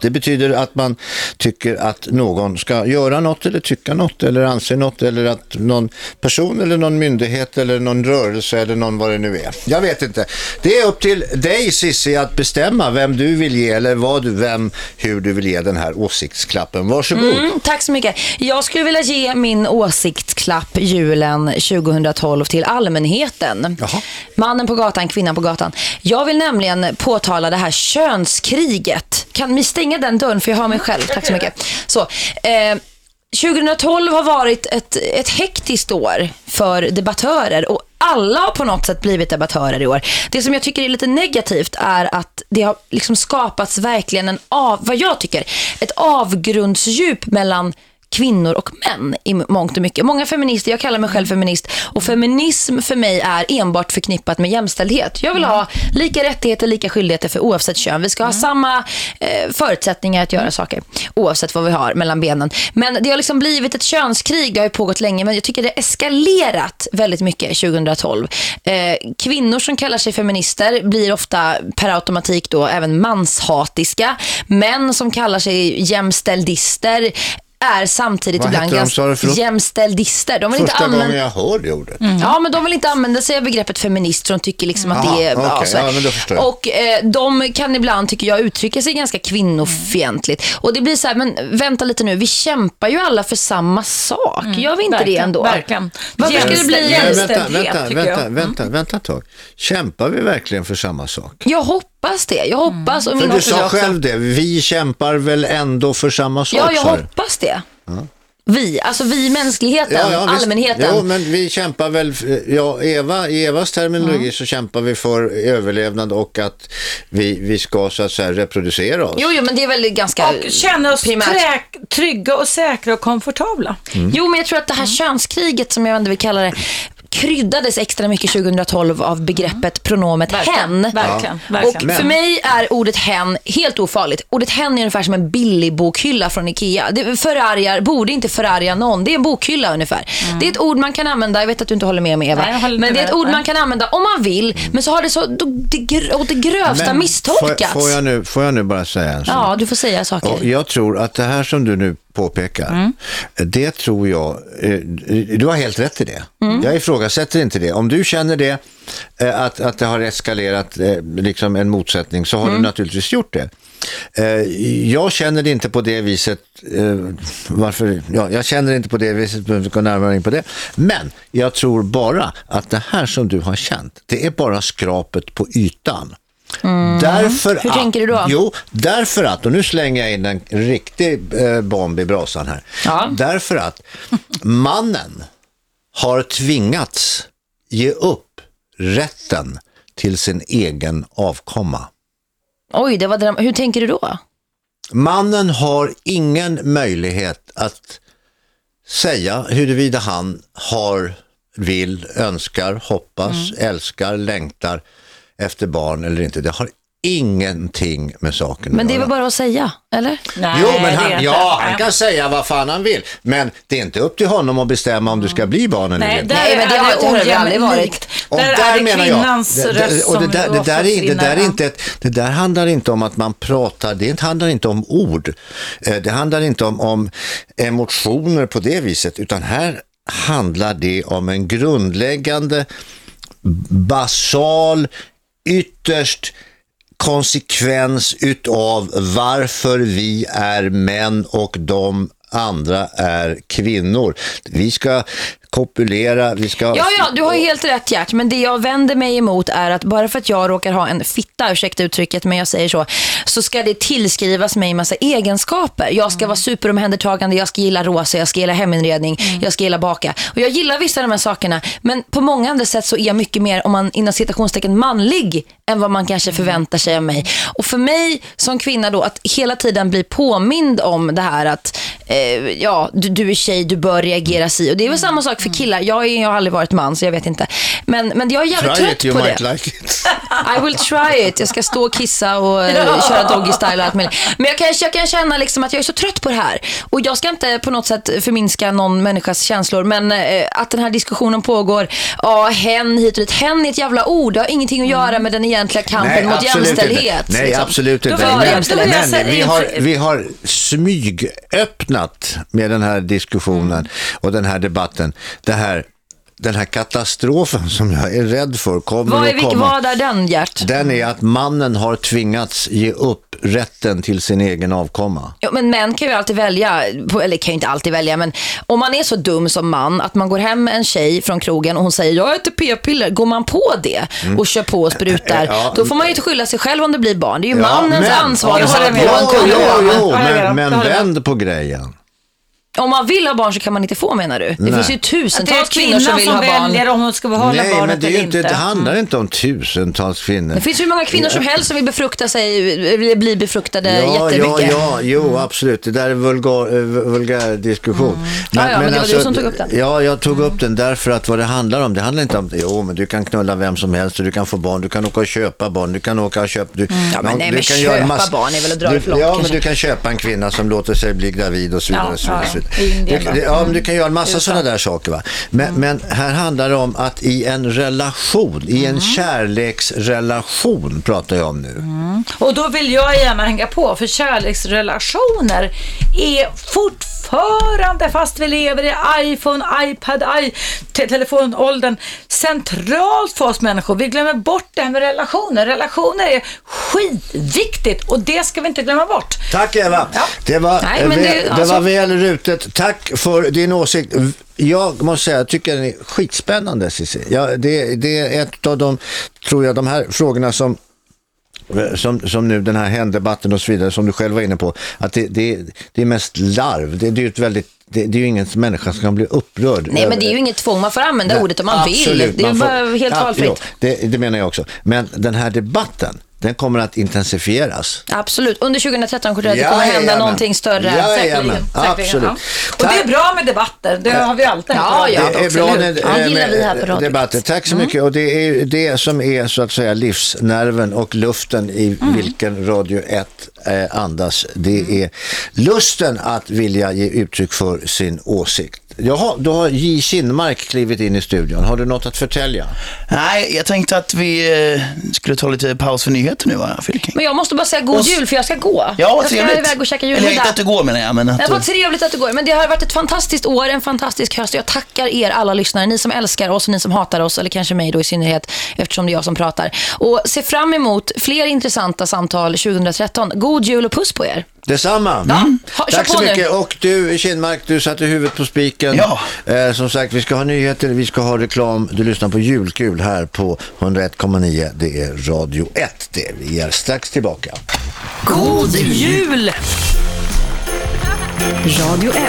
Speaker 2: Det betyder att man tycker att någon ska göra något eller tycka något eller anse något eller att någon person eller någon myndighet eller någon rörelse eller någon vad det nu är. Jag vet inte. Det är upp till dig Sissi att bestämma vem du vill ge eller vad du, vem, hur du vill ge den här åsiktsklappen. Varsågod.
Speaker 1: Mm, tack så mycket. Jag skulle vilja ge min åsiktsklapp julen 2012 till allmänheten.
Speaker 2: Jaha.
Speaker 1: Mannen på gatan, kvinnan på gatan. Jag vill nämligen påtala det här könskriget. Kan ni stänga den dörren för jag hör mig själv. Tack så mycket. Så, eh, 2012 har varit ett, ett hektiskt år för debattörer och alla har på något sätt blivit debattörer i år. Det som jag tycker är lite negativt är att det har liksom skapats verkligen en av, vad jag tycker, ett avgrundsdjup mellan kvinnor och män i mångt och mycket. Många feminister, jag kallar mig själv feminist och feminism för mig är enbart förknippat med jämställdhet. Jag vill ha lika rättigheter, lika skyldigheter för oavsett kön. Vi ska ha samma eh, förutsättningar att göra saker oavsett vad vi har mellan benen. Men det har liksom blivit ett könskrig, det har ju pågått länge men jag tycker det har eskalerat väldigt mycket 2012. Eh, kvinnor som kallar sig feminister blir ofta per automatik då även manshatiska. Män som kallar sig jämställdister är samtidigt
Speaker 2: Vad
Speaker 1: ibland
Speaker 2: hette de, sa du,
Speaker 1: ganska
Speaker 2: förlåt?
Speaker 1: jämställdister. De vill inte
Speaker 2: Första
Speaker 1: använda...
Speaker 2: gången jag hör det ordet.
Speaker 9: Mm.
Speaker 1: Ja, men de vill inte använda sig av begreppet feminist, för de tycker liksom att
Speaker 2: Aha,
Speaker 1: det är... ja,
Speaker 2: okej.
Speaker 1: så här.
Speaker 2: Ja, men då förstår jag.
Speaker 1: Och eh, de kan ibland, tycker jag, uttrycka sig ganska kvinnofientligt. Och det blir så här, men vänta lite nu, vi kämpar ju alla för samma sak. Gör vi inte det
Speaker 9: Mm, verkligen,
Speaker 1: ändå?
Speaker 9: verkligen.
Speaker 1: Varför ska det bli...
Speaker 9: Jämställdhet.
Speaker 2: Nej, vänta,
Speaker 9: Jämställdhet,
Speaker 2: vänta,
Speaker 9: tycker jag.
Speaker 1: Mm.
Speaker 2: vänta, vänta, vänta ett tag. Kämpar vi verkligen för samma sak?
Speaker 1: Jag hoppas det. Jag hoppas. Och
Speaker 2: För
Speaker 1: min
Speaker 2: du
Speaker 1: hopp-
Speaker 2: sa själv det, vi kämpar väl ändå för samma sak?
Speaker 1: Ja, jag
Speaker 2: sa du.
Speaker 1: hoppas det. Vi, alltså vi i mänskligheten,
Speaker 2: visst.
Speaker 1: allmänheten.
Speaker 2: Jo, men vi kämpar väl, ja, Eva, i Evas terminologi så kämpar vi för överlevnad och att vi, vi ska så att säga reproducera oss.
Speaker 1: Jo, jo, men det är väl ganska...
Speaker 9: Och känna oss
Speaker 1: primärt. Mm.
Speaker 9: träk, trygga och säkra och komfortabla. Mm.
Speaker 1: Jo, men jag tror att det här könskriget som jag ändå vill kalla det kryddades extra mycket 2012 av begreppet pronomet hen.
Speaker 9: Mm. Verkligen,
Speaker 1: Och
Speaker 9: verkligen.
Speaker 1: för
Speaker 2: Men-
Speaker 1: mig är ordet hen helt ofarligt. Ordet hen är ungefär som en billig bokhylla från Ikea. Det förargar, borde inte förarga någon. Det är en bokhylla ungefär. Det är ett ord man kan använda, jag vet att du inte håller med mig Eva,
Speaker 9: Mm. Nej, jag håller inte
Speaker 1: men det är ett
Speaker 9: med.
Speaker 1: ord man
Speaker 9: Nej.
Speaker 1: kan använda om man vill, men så har det så då, det, gr- åt det grövsta
Speaker 2: Mm. Men
Speaker 1: misstolkats.
Speaker 2: Får, får, jag nu, får jag nu bara säga en sak?
Speaker 1: Ja, du får säga saker.
Speaker 2: Och jag tror att det här som du nu påpekar, det tror jag, eh, du har helt rätt i det. Jag ifrågasätter inte det. Om du känner det, eh, att, att det har eskalerat eh, liksom en motsättning, så har du naturligtvis gjort det. Eh, Jag känner det inte på det viset, eh, varför, ja, jag känner det inte på det viset, men vi går närmare in på det. Men jag tror bara att det här som du har känt, det är bara skrapet på ytan.
Speaker 3: Mm.
Speaker 2: Därför
Speaker 1: Mm. Hur
Speaker 2: att,
Speaker 1: tänker du då?
Speaker 2: Jo, därför att, och nu slänger jag in en riktig eh, bomb i brasan här.
Speaker 1: Ja.
Speaker 2: Därför att mannen har tvingats ge upp rätten till sin egen avkomma.
Speaker 1: Oj, det var dram- Hur tänker du då?
Speaker 2: Mannen har ingen möjlighet att säga huruvida han har, vill, önskar,
Speaker 1: Mm.
Speaker 2: hoppas, älskar, längtar efter barn eller inte. Det har ingenting med saken
Speaker 1: Men
Speaker 2: att
Speaker 1: det är väl
Speaker 2: göra.
Speaker 1: bara att säga, eller?
Speaker 9: Nej,
Speaker 2: Jo, men
Speaker 9: det är
Speaker 2: han,
Speaker 9: inte.
Speaker 2: ja, han
Speaker 9: Nej.
Speaker 2: kan säga vad fan han vill. Men det är inte upp till honom att bestämma om du ska bli barn eller
Speaker 9: Nej,
Speaker 2: inte.
Speaker 9: där
Speaker 1: Nej, men det har
Speaker 9: är
Speaker 1: jag- det har jag aldrig varit.
Speaker 2: Och
Speaker 9: Där, är det kvinnans
Speaker 2: det- det-
Speaker 9: röst
Speaker 2: och det
Speaker 9: som
Speaker 2: där,
Speaker 9: då
Speaker 2: det, där är, inte- det, där är
Speaker 9: försvinner.
Speaker 2: inte ett, det där handlar inte om att man pratar, det handlar inte om ord. Eh, Det handlar inte om, om emotioner på det viset, utan här handlar det om en grundläggande, basal, ytterst konsekvens utav varför vi är män och de andra är kvinnor. Vi ska kopulera, vi ska...
Speaker 1: Ja, ja, du har ju helt rätt Gert, men det jag vänder mig emot är att bara för att jag råkar ha en fitta, ursäkta uttrycket, men jag säger så, så ska det tillskrivas mig en massa egenskaper. Jag
Speaker 9: Mm.
Speaker 1: ska vara superomhändertagande, jag ska gilla rosa, jag ska gilla heminredning,
Speaker 9: Mm.
Speaker 1: jag ska gilla baka. Och jag gillar vissa av de här sakerna, men på många andra sätt så är jag mycket mer, om man inom citationstecken, manlig än vad man
Speaker 2: Mm.
Speaker 1: kanske förväntar sig av mig. Och för mig som kvinna då, att hela tiden bli påmind om det här att eh, ja, du, du är tjej, du bör reagera si. Och det är
Speaker 2: Mm.
Speaker 1: väl samma sak för killar. Jag, är, jag har aldrig varit man så jag vet inte. Men, men jag är jävligt
Speaker 2: Try it,
Speaker 1: trött
Speaker 2: you
Speaker 1: på
Speaker 2: might
Speaker 1: det.
Speaker 2: like it.
Speaker 1: I will try it. Jag ska stå och kissa och eh, köra doggy style och allt möjligt. Men jag kan, jag kan känna liksom att jag är så trött på det här. Och jag ska inte på något sätt förminska någon människas känslor. Men eh, att den här diskussionen pågår. Ja, hen hit och dit. Hen är ett jävla ord. Det har ingenting att göra med den egentliga kampen
Speaker 2: Nej,
Speaker 1: mot
Speaker 2: absolut
Speaker 1: jämställdhet.
Speaker 2: Inte. Nej,
Speaker 1: liksom.
Speaker 2: absolut inte.
Speaker 1: För jämställdhet.
Speaker 2: Men, men
Speaker 9: Jag
Speaker 2: vi,
Speaker 9: säger-
Speaker 2: har, vi har smygöppnat med den här
Speaker 1: Mm.
Speaker 2: diskussionen och den här debatten. Det här, den här katastrofen som jag är rädd för kommer
Speaker 1: Vad, är,
Speaker 2: att
Speaker 1: vilk-
Speaker 2: komma.
Speaker 1: vad är den, Gert?
Speaker 2: Den är att mannen har tvingats ge upp rätten till sin egen avkomma.
Speaker 1: Jo, men män kan ju alltid välja, på- eller kan ju inte alltid välja, men om man är så dum som man att man går hem med en tjej från krogen och hon säger jag äter p-piller, går man på det och kör på och sprutar,
Speaker 2: Mm. Ja.
Speaker 1: då får man ju inte skylla sig själv om det blir barn. Det är ju
Speaker 2: Ja,
Speaker 1: mannens
Speaker 2: men-
Speaker 1: ansvar
Speaker 2: Ja,
Speaker 1: att sätta på en
Speaker 2: jo, jo,
Speaker 1: kula.
Speaker 2: jo,
Speaker 9: Ja, jag vet.
Speaker 2: men, men
Speaker 9: Jag håller med.
Speaker 2: vänd på grejen.
Speaker 1: Om man vill ha barn så kan man inte få menar du? Det
Speaker 2: Nej.
Speaker 1: finns ju
Speaker 9: Att det är
Speaker 1: tusentals kvinnor
Speaker 9: kvinnan
Speaker 1: som
Speaker 9: som,
Speaker 1: vill ha
Speaker 9: väljer
Speaker 1: barn.
Speaker 9: om hon ska behålla
Speaker 2: Nej,
Speaker 9: barnet
Speaker 2: men det, är
Speaker 9: eller
Speaker 2: ju inte,
Speaker 9: inte.
Speaker 2: det handlar inte om tusentals kvinnor.
Speaker 1: Mm. Det finns hur många kvinnor som helst som vill befrukta sig, bli befruktade
Speaker 2: Ja, ja,
Speaker 1: jättemycket. Mm.
Speaker 2: ja, jo absolut. Det där är vulgar, eh, vulgär diskussion. alltså,
Speaker 1: Ja, ja, men det var du som tog upp den. Mm.
Speaker 2: Ja, jag tog upp den därför att vad det handlar om, det handlar inte om, jo men du kan knulla vem som helst och du kan få barn, du kan åka och köpa barn, du kan åka och köpa, du,
Speaker 1: Mm. Ja, men nej, men köpa barn är väl att dra
Speaker 2: du,
Speaker 1: det för långt
Speaker 2: Ja, men
Speaker 1: kanske.
Speaker 2: du kan köpa en kvinna som låter sig bli gravid och så vidare.
Speaker 9: Ja,
Speaker 2: och så vidare,
Speaker 9: ja,
Speaker 2: och så vidare.
Speaker 9: ja. I Indien,
Speaker 2: Du, det- ja, men du kan
Speaker 1: Mm.
Speaker 2: göra en massa sådana där saker. Va? Men, men här handlar det om att i en relation, i
Speaker 1: Mm.
Speaker 2: en kärleksrelation pratar jag om nu.
Speaker 9: Mm. Och då vill jag gärna hänga på, för kärleksrelationer är fortfarande, fast vi lever i iPhone, iPad, i te- telefonåldern, centralt för oss människor. Vi glömmer bort det här med relationer. Relationer är skitviktigt och det ska vi inte glömma bort.
Speaker 2: Tack Eva. Det, var,
Speaker 1: Nej, men
Speaker 2: väl,
Speaker 1: det-
Speaker 2: det,
Speaker 1: alltså-
Speaker 2: var väl rutet. Tack för din åsikt. Jag måste säga, jag tycker den är skitspännande Cissi. Ja, det, det är ett av de, tror jag, de här frågorna som som, som nu den här händebatten och så vidare, som du själv var inne på, att det, det, det är mest larv. Det, det är ju ett väldigt, det, det är ju ingen människa som kan bli upprörd.
Speaker 1: Nej, men
Speaker 2: över
Speaker 1: det är ju inget tvång. Man får använda ordet om man vill.
Speaker 2: Absolut,
Speaker 1: Det är
Speaker 2: man får-
Speaker 1: bara helt
Speaker 2: Ja,
Speaker 1: valfritt.
Speaker 2: jo, det, det menar jag också. Men den här debatten, den kommer att intensifieras.
Speaker 1: Absolut. Under 2013 kommer det kommer hända
Speaker 2: Jajamän.
Speaker 1: någonting större.
Speaker 2: Jajamän,
Speaker 9: Säkerligen,
Speaker 2: absolut.
Speaker 9: ja. Och det är bra med debatter, det har vi alltid
Speaker 1: Ja, ja.
Speaker 2: Det är bra
Speaker 1: absolut.
Speaker 2: med, eh,
Speaker 1: Ja, gillar vi här på Mm.
Speaker 2: med
Speaker 1: Radio
Speaker 2: debatter. Tack så mycket. Och det är ju det som är så att säga livsnerven och luften i
Speaker 1: Mm.
Speaker 2: vilken Radio 1 eh, andas. Det är lusten att vilja ge uttryck för sin åsikt. Jaha, då har J. Kinmark klivit in i studion. Har du något att förtälja?
Speaker 5: Nej, jag tänkte att vi eh, skulle ta lite paus för nyheter nu va, Fylking?
Speaker 1: Men jag måste bara säga god
Speaker 5: Och s-
Speaker 1: jul för jag ska gå.
Speaker 5: Ja,
Speaker 1: jag ska
Speaker 5: trevligt.
Speaker 1: iväg och käka
Speaker 5: Eller inte
Speaker 1: julmiddag.
Speaker 5: att du går menar jag, men att
Speaker 1: Men
Speaker 5: du...
Speaker 1: vad trevligt att du går. Men det har varit ett fantastiskt år, en fantastisk höst. Jag tackar er alla lyssnare, ni som älskar oss och ni som hatar oss, eller kanske mig då i synnerhet, eftersom det är jag som pratar. Och se fram emot fler intressanta samtal 2013. God jul och puss på er.
Speaker 2: Detsamma.
Speaker 1: Ha- kör
Speaker 2: Tack så
Speaker 1: på nu.
Speaker 2: mycket. Och du Kinmark, du satte huvudet på spiken.
Speaker 5: Ja.
Speaker 2: Eh, som sagt, vi ska ha nyheter, vi ska ha reklam. Du lyssnar på Julkul här på 101,9. Det är Radio 1 det. Vi är strax tillbaka.
Speaker 1: God jul!
Speaker 10: Radio 1.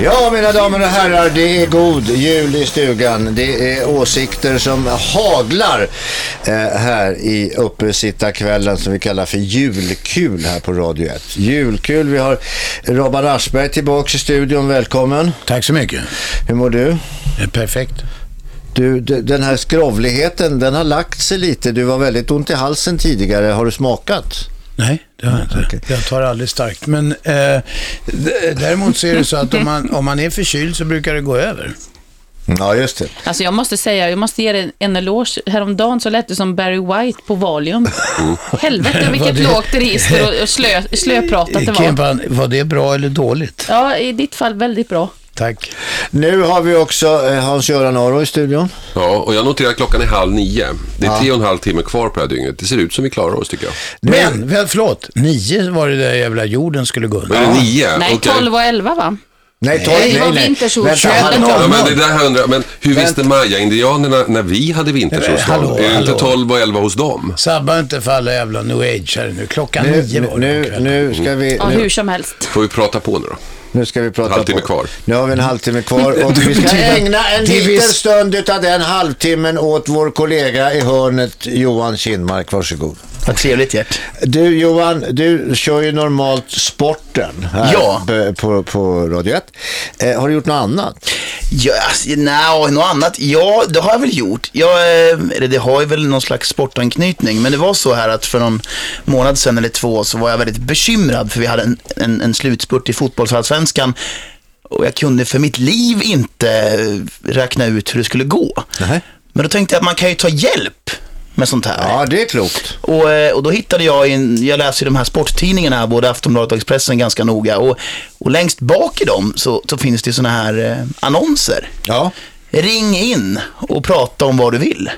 Speaker 2: Ja, mina damer och herrar, det är god jul i stugan. Det är åsikter som haglar eh, här i uppesittarkvällen som vi kallar för julkul här på Radio 1. Julkul, vi har Robban Aschberg tillbaka i studion. Välkommen.
Speaker 11: Tack så mycket.
Speaker 2: Hur mår du?
Speaker 11: Det är Perfekt.
Speaker 2: Du, d- den här skrovligheten, den har lagt sig lite. Du var väldigt ont i halsen tidigare. Har du smakat?
Speaker 11: Nej, det har jag inte. Jag tar aldrig starkt. Men eh, d- däremot så är det så att om man, om man är förkyld så brukar det gå över.
Speaker 2: Ja, just det.
Speaker 3: Alltså jag måste säga, jag måste ge dig en eloge. Häromdagen så lät du som Barry White på Valium.
Speaker 11: <laughs>
Speaker 3: Helvete vilket
Speaker 11: det-
Speaker 3: lågt register och- och slö, slöpratat det var.
Speaker 11: Kimpan, var det bra eller dåligt?
Speaker 3: Ja, i ditt fall väldigt bra.
Speaker 11: Tack.
Speaker 2: Nu har vi också eh, Hans-Göran Aro i studion.
Speaker 7: Ja, och jag noterar att klockan är halv nio. Det är tre och en halv timme kvar på det här dygnet. Det ser ut som vi klarar oss tycker jag.
Speaker 11: Men, väl, förlåt, nio var det där jävla jorden skulle gå under.
Speaker 7: Men det är nio.
Speaker 3: Nej,
Speaker 7: okej.
Speaker 3: 12 och 11 va?
Speaker 2: Nej, tolv,
Speaker 3: det var vintersol.
Speaker 2: Vänta, han-
Speaker 11: 21.00.
Speaker 7: Ja, men, det där har jag undrat. men hur visste Maya-indianerna när vi hade
Speaker 11: Nej, men,
Speaker 7: vintersolstånd?
Speaker 11: hallå,
Speaker 7: Är det inte
Speaker 11: hallå.
Speaker 7: 12 och 11 hos dem?
Speaker 11: Sabba inte för alla jävla new age här nu. Klockan
Speaker 2: Nu,
Speaker 11: nio var det på
Speaker 2: nu,
Speaker 11: kvällen.
Speaker 2: nu ska vi...
Speaker 3: Ja,
Speaker 2: Nu.
Speaker 3: hur som helst.
Speaker 7: Får vi prata på nu då?
Speaker 2: Nu ska vi prata
Speaker 7: Halvtimme
Speaker 2: på.
Speaker 7: kvar.
Speaker 2: Nu har vi en halvtimme kvar
Speaker 11: <laughs>
Speaker 2: och vi ska ägna en liten stund utav den halvtimmen åt vår kollega i hörnet Johan Kindmark. Varsågod.
Speaker 5: Vad trevligt Gert.
Speaker 2: Du Johan, du kör ju normalt sporten här
Speaker 5: Ja.
Speaker 2: b- på, på Radio 1. Eh, har du gjort något annat?
Speaker 5: Ja, alltså, nej, något annat. Ja, det har jag väl gjort. Jag, eh, eller det har ju väl någon slags sportanknytning. Men det var så här att för någon månad sedan eller två så var jag väldigt bekymrad för vi hade en, en, en slutspurt i fotbollsallsvenskan. Och jag kunde för mitt liv inte eh, räkna ut hur det skulle gå. Men då tänkte jag att man kan ju ta hjälp med sånt här.
Speaker 2: Ja, det är klokt.
Speaker 5: Och, eh, och då hittade jag, in, jag läser ju de här sporttidningarna, här, både Aftonbladet och Expressen ganska noga. Och, och längst bak i dem så, så finns det sådana här eh, annonser.
Speaker 2: Ja.
Speaker 5: Ring in och prata om vad du vill.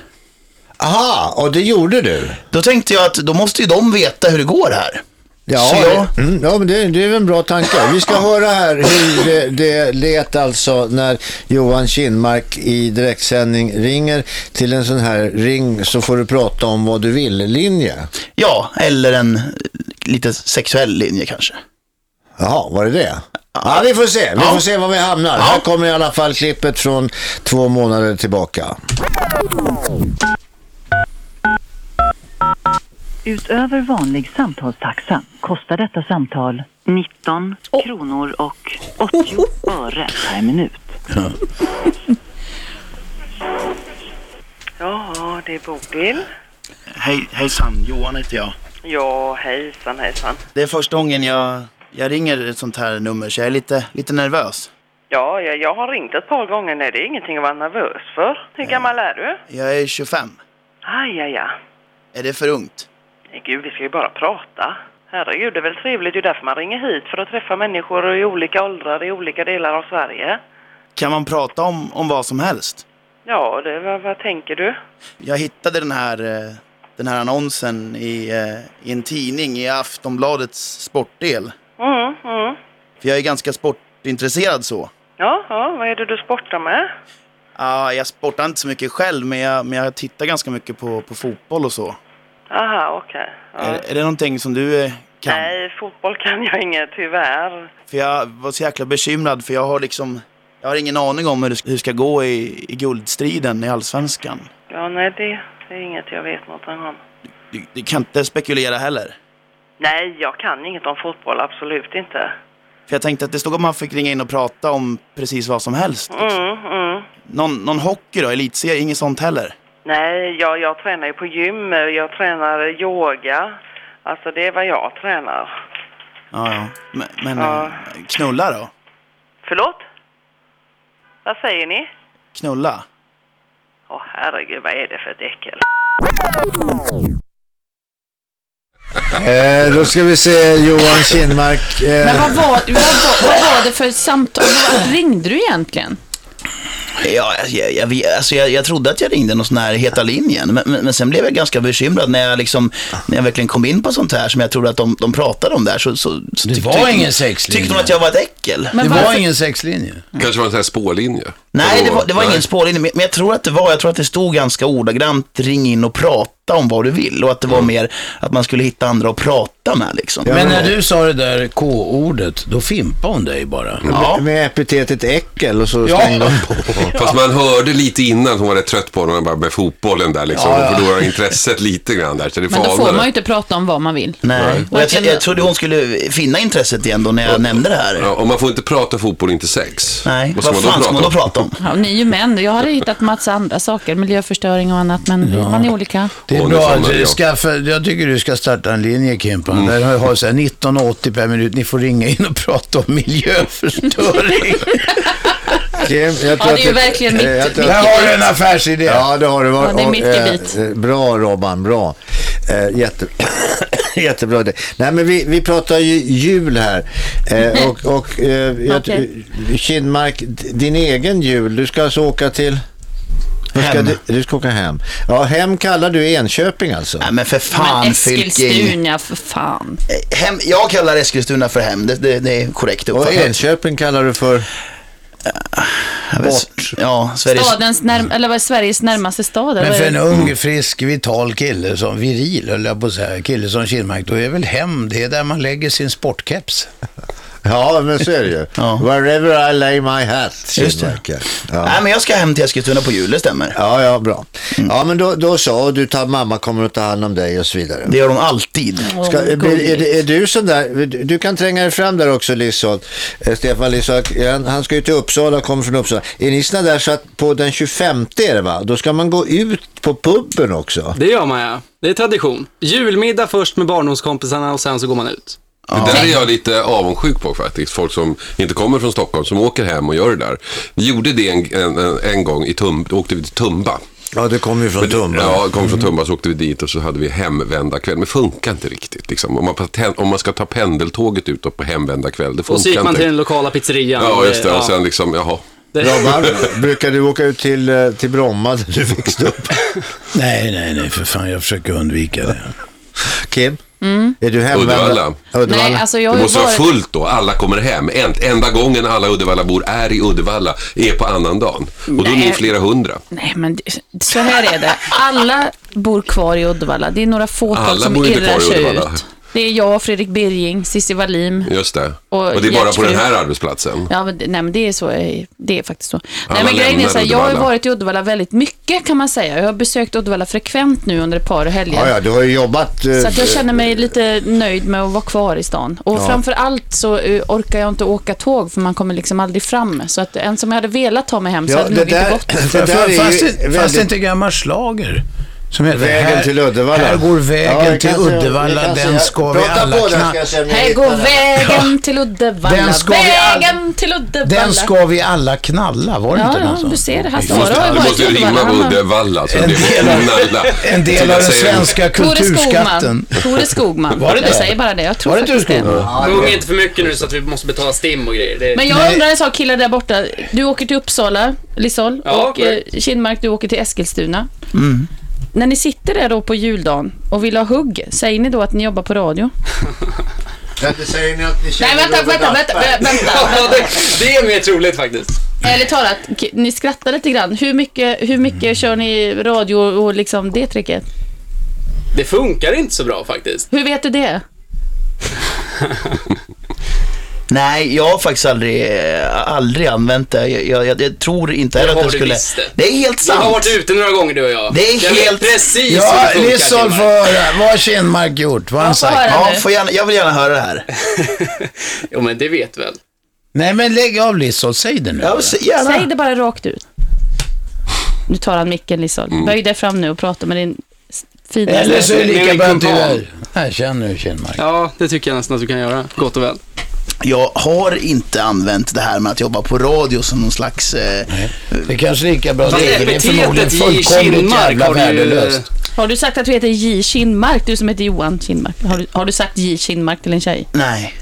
Speaker 2: Aha, och det gjorde du?
Speaker 5: Då tänkte jag att då måste ju de veta hur det går här.
Speaker 2: Ja,
Speaker 5: Så jag-
Speaker 2: det- mm, ja men det, det är väl en bra tanke. Vi ska höra här hur det, det lät alltså när Johan Kinmark i direktsändning ringer till en sån här ring så får du prata om vad du vill-linje.
Speaker 5: Ja, eller en eh, lite sexuell linje kanske.
Speaker 2: Jaha, var det det? Ja, vi får se. Vi får se var vi hamnar. Här kommer i alla fall klippet från två månader
Speaker 5: <laughs>
Speaker 2: tillbaka.
Speaker 10: Utöver vanlig samtalstaxa kostar detta samtal 19 kronor och 80 öre per minut.
Speaker 12: Ja, det är Bodil.
Speaker 5: Hej, hejsan, Johan heter jag.
Speaker 12: Ja, hejsan hejsan.
Speaker 5: Det är första gången jag, jag ringer ett sånt här nummer så jag är lite, lite nervös.
Speaker 12: Ja, jag, jag har ringt ett par gånger nu. Det är ingenting att vara nervös för. Hur gammal är du?
Speaker 5: Jag är 25.
Speaker 12: Aj, aj, aj.
Speaker 5: Är det för ungt?
Speaker 12: Nej, Gud, vi ska ju bara prata. Herregud, det är väl trevligt. Det är ju därför man ringer hit. För att träffa människor i olika åldrar i olika delar av Sverige.
Speaker 5: Kan man prata om, om vad som helst?
Speaker 12: Ja, det, vad, vad tänker du?
Speaker 5: Jag hittade den här, eh, den här annonsen i, eh, i en tidning i Aftonbladets sportdel.
Speaker 12: Mm, mm.
Speaker 5: För jag är ganska sportintresserad så.
Speaker 12: Ja, ja, vad är det du sportar med?
Speaker 5: Ah, jag sportar inte så mycket själv, men jag, men jag tittar ganska mycket på, på fotboll och så.
Speaker 12: Aha, okej.
Speaker 5: Är, är det någonting som du eh, kan?
Speaker 12: Nej, fotboll kan jag inget, tyvärr.
Speaker 5: För jag var så jäkla bekymrad, för jag har liksom... Jag har ingen aning om hur det, hur det ska gå i, i guldstriden i allsvenskan.
Speaker 12: Ja, nej, det, det är inget jag vet något om.
Speaker 5: Du, du kan inte spekulera heller.
Speaker 12: Nej, jag kan inget om fotboll, absolut inte.
Speaker 5: För jag tänkte att det stod att man fick ringa in och prata om precis vad som helst.
Speaker 12: Mm, mm.
Speaker 5: Någon, någon hockey då? Elitserie? Inget sånt heller?
Speaker 12: Nej, jag, jag tränar ju på gym, jag tränar yoga. Alltså det är vad jag tränar.
Speaker 5: Ja, ja. Men, men
Speaker 12: Ja.
Speaker 5: eh, knulla då?
Speaker 12: Förlåt? Vad säger ni?
Speaker 5: Knulla?
Speaker 12: Åh herregud, vad är det för ett äckel?
Speaker 2: Eh, då ska vi se Johan Kindmark. Eh,
Speaker 3: Men vad var, vad, var, vad var det för samtal? Vad ringde du egentligen?
Speaker 5: Ja, jag, jag, vet- alltså jag, jag trodde att jag ringde någon sån här Heta linjen, men, men, men sen blev jag ganska bekymrad när jag, liksom, när jag verkligen kom in på sånt här som jag trodde att de, de pratade om där. Så, så, så
Speaker 11: Det
Speaker 5: tyck-
Speaker 11: var
Speaker 5: tyckte-
Speaker 11: ingen sexlinje.
Speaker 5: Tyckte de att jag var ett äckel.
Speaker 11: det var ingen sexlinje.
Speaker 7: Kanske var det en sån här spårlinje.
Speaker 5: Nej, det var, det var ingen spårlinje, men men jag tror att det var, jag tror att det stod ganska ordagrant, ring in och prata om vad du vill. Och att det var mer att man skulle hitta andra att prata med liksom.
Speaker 11: Mm. Men när du sa det där K-ordet, då fimpade hon dig bara.
Speaker 2: med, med epitetet äckel och så
Speaker 11: Ja.
Speaker 2: stängde de på.
Speaker 7: <laughs> Fast man hörde lite innan att hon var rätt trött på honom och bara med fotbollen där liksom.
Speaker 2: Ja, ja.
Speaker 7: Hon förlorade intresset lite grann där. Så det
Speaker 3: Men då får
Speaker 7: falnade.
Speaker 3: man ju inte prata om vad man vill.
Speaker 5: Nej. Och jag, t- jag trodde hon skulle finna intresset igen då när jag nämnde det här.
Speaker 7: Ja, och man får inte prata fotboll, inte sex.
Speaker 5: Nej, vad fan ska man då prata om?
Speaker 3: Ja, ni är ju män. Jag har hittat massa andra saker, miljöförstöring och annat, men
Speaker 11: Ja.
Speaker 3: man är olika.
Speaker 11: Det är bra
Speaker 2: liksom.
Speaker 11: att du skaffa, jag tycker du ska starta en linje Kimpan.
Speaker 2: Mm.
Speaker 11: Där har har så här 1980 per minut, ni får ringa in och <laughs> prata om
Speaker 2: <laughs>
Speaker 11: miljöförstöring.
Speaker 2: Kim, jag tror
Speaker 3: Ja, det är ju
Speaker 2: att
Speaker 3: verkligen mitt-
Speaker 2: eh, jag tror
Speaker 11: mitt
Speaker 2: att-
Speaker 11: Där har du en affärsidé.
Speaker 2: Ja, det har du.
Speaker 11: Ja, det är
Speaker 2: Och,
Speaker 11: mitt
Speaker 2: eh,
Speaker 11: gebit.
Speaker 2: eh, Bra Robban, bra. Eh, jätte... <coughs> Jättebra det. Nej, men vi, vi pratar ju jul här. Eh, och och eh, jag,
Speaker 13: Okej.
Speaker 2: Kindmark, d- din egen jul, du ska alltså åka till... Du ska,
Speaker 5: Hem.
Speaker 2: du, du ska åka hem. Ja, hem kallar du Enköping alltså. Nej,
Speaker 5: men för fan
Speaker 3: Men Eskilstuna, för fan.
Speaker 5: Hem, jag kallar Eskilstuna för hem, det, det, det är korrekt
Speaker 2: Och
Speaker 5: uppfattat.
Speaker 2: Enköping kallar du för?
Speaker 5: Bort. Ja, Sveriges...
Speaker 3: Stadens närm- eller vad är Sveriges närmaste stad? eller
Speaker 11: Men
Speaker 3: vad
Speaker 11: för
Speaker 3: är
Speaker 11: en
Speaker 3: det?
Speaker 11: ung, frisk, vital kille som viril, höll jag på att säga, kille som Kihlmark, då är väl hem, det är där man lägger sin sportkeps.
Speaker 2: Ja, men så är det ju. Wherever I lay my hat,
Speaker 5: Just det.
Speaker 2: Kinmark.
Speaker 5: Nej, men jag ska hem till Eskilstuna på jul, det stämmer. Mm.
Speaker 2: Ja, ja, bra. Ja, men då, då så. Och du tar, mamma kommer att ta hand om dig och så vidare.
Speaker 5: Det gör de alltid.
Speaker 2: Ska, blir, är, det- är du sån där, du- du kan tränga dig fram där också Lisson. Eh, Stefan Lisson, han, han ska ju till Uppsala, kommer från Uppsala. Är ni såna där så att på den 25 är det va? Då ska man gå ut på puben också.
Speaker 6: Det gör man ja. Det är tradition. Julmiddag först med barndomskompisarna och sen så går man ut.
Speaker 7: Det där är jag lite avundsjuk på faktiskt. Folk som inte kommer från Stockholm, som åker hem och gör det där. Vi gjorde det en, en, en gång, i Tum, då åkte vi till Tumba.
Speaker 2: Ja, det kommer ju från Tumba.
Speaker 7: Ja, kom från Tumba så åkte vi dit och så hade vi hemvända kväll. Men funkar inte riktigt liksom. Om man, paten- om man ska ta pendeltåget utåt på hemvända kväll, det funkar
Speaker 6: Och så gick man
Speaker 7: inte.
Speaker 6: till den lokala pizzerian.
Speaker 7: Ja, just det.
Speaker 6: Ja.
Speaker 7: Och sen liksom, jaha.
Speaker 6: Det-
Speaker 2: Robban, brukar du åka ut till, eh, till Bromma där du växte upp?
Speaker 11: <laughs> Nej, nej, nej, för fan, jag försöker undvika det.
Speaker 2: Kim? Är du hemma?
Speaker 7: Uddevalla.
Speaker 2: Uddevalla.
Speaker 3: Nej, alltså jag har
Speaker 7: det
Speaker 3: ju
Speaker 7: måste
Speaker 3: varit...
Speaker 7: vara fullt då. Alla kommer hem. En, enda gången alla Uddevallabor är i Uddevalla är på annan dagen. Och då är
Speaker 3: Nej.
Speaker 7: ni flera hundra.
Speaker 3: Nej, men det- så här är det. Alla bor kvar i Uddevalla. Det är några fåtal
Speaker 7: Alla
Speaker 3: som
Speaker 7: bor inte
Speaker 3: irrar
Speaker 7: kvar i
Speaker 3: sig
Speaker 7: Uddevalla.
Speaker 3: ut. Det är jag, Fredrik Birging, Cissi Wallin.
Speaker 7: Just det.
Speaker 3: Och
Speaker 7: Och, det är bara på
Speaker 3: hjärtfru.
Speaker 7: den här arbetsplatsen.
Speaker 3: Ja, men, det- nej, men det är så. eh, Det är faktiskt så. nej, men
Speaker 7: lämnar
Speaker 3: grejen är så här, jag har ju
Speaker 7: Uddevalla.
Speaker 3: varit i Uddevalla väldigt mycket kan man säga. Jag har besökt Uddevalla frekvent nu under ett par helger.
Speaker 2: Ja, ja, du har ju jobbat. eh,
Speaker 3: Så att jag känner mig lite nöjd med att vara kvar i stan. Och
Speaker 2: Ja.
Speaker 3: framför allt så eh, orkar jag inte åka tåg för man kommer liksom aldrig fram. Så att ens om jag hade velat ta mig hem så
Speaker 2: Ja,
Speaker 3: hade det
Speaker 2: det
Speaker 3: nog inte
Speaker 2: där-
Speaker 3: gått.
Speaker 2: det där är ju
Speaker 11: Fast, det-
Speaker 2: väldigt-
Speaker 11: fast det är inte gammal slager. Som heter,
Speaker 2: Vägen
Speaker 11: här,
Speaker 2: till Uddevalla.
Speaker 11: Här går
Speaker 2: Ja,
Speaker 11: vägen
Speaker 2: det
Speaker 11: till
Speaker 2: kan jag- det
Speaker 11: Uddevalla,
Speaker 2: kan
Speaker 11: den
Speaker 2: jag-
Speaker 11: ska vi
Speaker 2: Prata
Speaker 11: alla
Speaker 2: på där, ska
Speaker 11: knacka.
Speaker 2: jag se om jag
Speaker 3: Här
Speaker 2: hittar
Speaker 3: går
Speaker 2: den.
Speaker 3: vägen till Uddevalla.
Speaker 11: Den ska vi all-
Speaker 3: vägen till Uddevalla.
Speaker 11: Den ska vi alla knalla, var det
Speaker 3: Ja,
Speaker 11: inte den
Speaker 3: ja,
Speaker 11: som-
Speaker 3: du ser det. Här
Speaker 7: Du
Speaker 3: står
Speaker 7: måste,
Speaker 3: det. Har
Speaker 7: du måste
Speaker 3: varit i
Speaker 7: rimma på
Speaker 3: Uddevalla.
Speaker 7: Uddevalla. Så det
Speaker 11: En
Speaker 7: går
Speaker 11: del av-
Speaker 7: knalla.
Speaker 11: en del
Speaker 7: Så jag
Speaker 11: av den
Speaker 7: säger-
Speaker 11: svenska
Speaker 3: Tore Skogman.
Speaker 11: kulturskatten.
Speaker 3: Tore Skogman.
Speaker 11: Var det
Speaker 3: jag
Speaker 11: det?
Speaker 3: säger bara det. Jag tror
Speaker 11: Var det Tore
Speaker 3: faktiskt det.
Speaker 11: Skogman?
Speaker 6: Sjung inte för mycket nu så att vi måste betala STIM och grejer. Det...
Speaker 3: Men jag undrar en sak killar där borta. Du åker till Uppsala, Lisol,
Speaker 6: Ja,
Speaker 3: och eh, Kinmark, du åker till Eskilstuna.
Speaker 5: Mm.
Speaker 3: När ni sitter där då på juldagen och vill ha hugg, säger ni då att ni jobbar på radio?
Speaker 2: Vänta, säger ni att ni känner
Speaker 3: Nej, vänta,
Speaker 2: Robert
Speaker 3: vänta,
Speaker 2: Aschberg?
Speaker 3: vänta, vänta.
Speaker 6: <laughs> Ja, det, det är mer troligt faktiskt.
Speaker 3: Ärligt talat, k- ni skrattar lite grann. Hur mycket, hur mycket kör ni radio och liksom det tricket?
Speaker 6: Det funkar inte så bra faktiskt.
Speaker 3: Hur vet du det?
Speaker 5: Nej, jag har faktiskt aldrig, eh, aldrig använt det. Jag, jag, jag, jag tror inte heller att
Speaker 6: har
Speaker 5: jag
Speaker 6: du
Speaker 5: skulle...
Speaker 6: visst det.
Speaker 5: Det är helt
Speaker 6: Vi har
Speaker 5: sant.
Speaker 6: varit ute några gånger du och jag.
Speaker 5: Det är
Speaker 6: jag vet
Speaker 5: helt-
Speaker 6: Precis
Speaker 11: Ja,
Speaker 6: hur det funkar.
Speaker 11: Lissol
Speaker 6: killar.
Speaker 11: får höra. Vad har Kinmark gjort? Vad har han sagt?
Speaker 5: Ja, får gärna, jag vill gärna höra det här.
Speaker 6: <laughs> Jo, men det vet väl.
Speaker 11: Nej, men lägg av Lissol. Säg det nu.
Speaker 5: Ja, s- gärna.
Speaker 3: Säg det bara rakt ut. Nu tar han micken Lisol. Böj dig fram nu och prata med din s- fina
Speaker 11: Eller så är det
Speaker 6: Men-
Speaker 11: lika
Speaker 6: men
Speaker 11: bra att du
Speaker 6: kumpan.
Speaker 11: är... Här, känn nu Kinmark.
Speaker 6: Ja, det tycker jag nästan att du kan göra. Gott och väl.
Speaker 5: Jag har inte använt det här med att jobba på radio som någon slags... Eh,
Speaker 11: Det är kanske lika bra att
Speaker 6: Fast
Speaker 11: det är. Det är
Speaker 6: epitetet
Speaker 11: förmodligen
Speaker 6: i
Speaker 11: fullkomligt
Speaker 6: Kinmark
Speaker 11: jävla
Speaker 6: har du ju-
Speaker 11: värdelöst.
Speaker 3: Har du sagt att du heter J. Kinmark, du som heter Johan Kinmark? Har du, har du sagt J. Kinmark till en tjej?
Speaker 5: nej.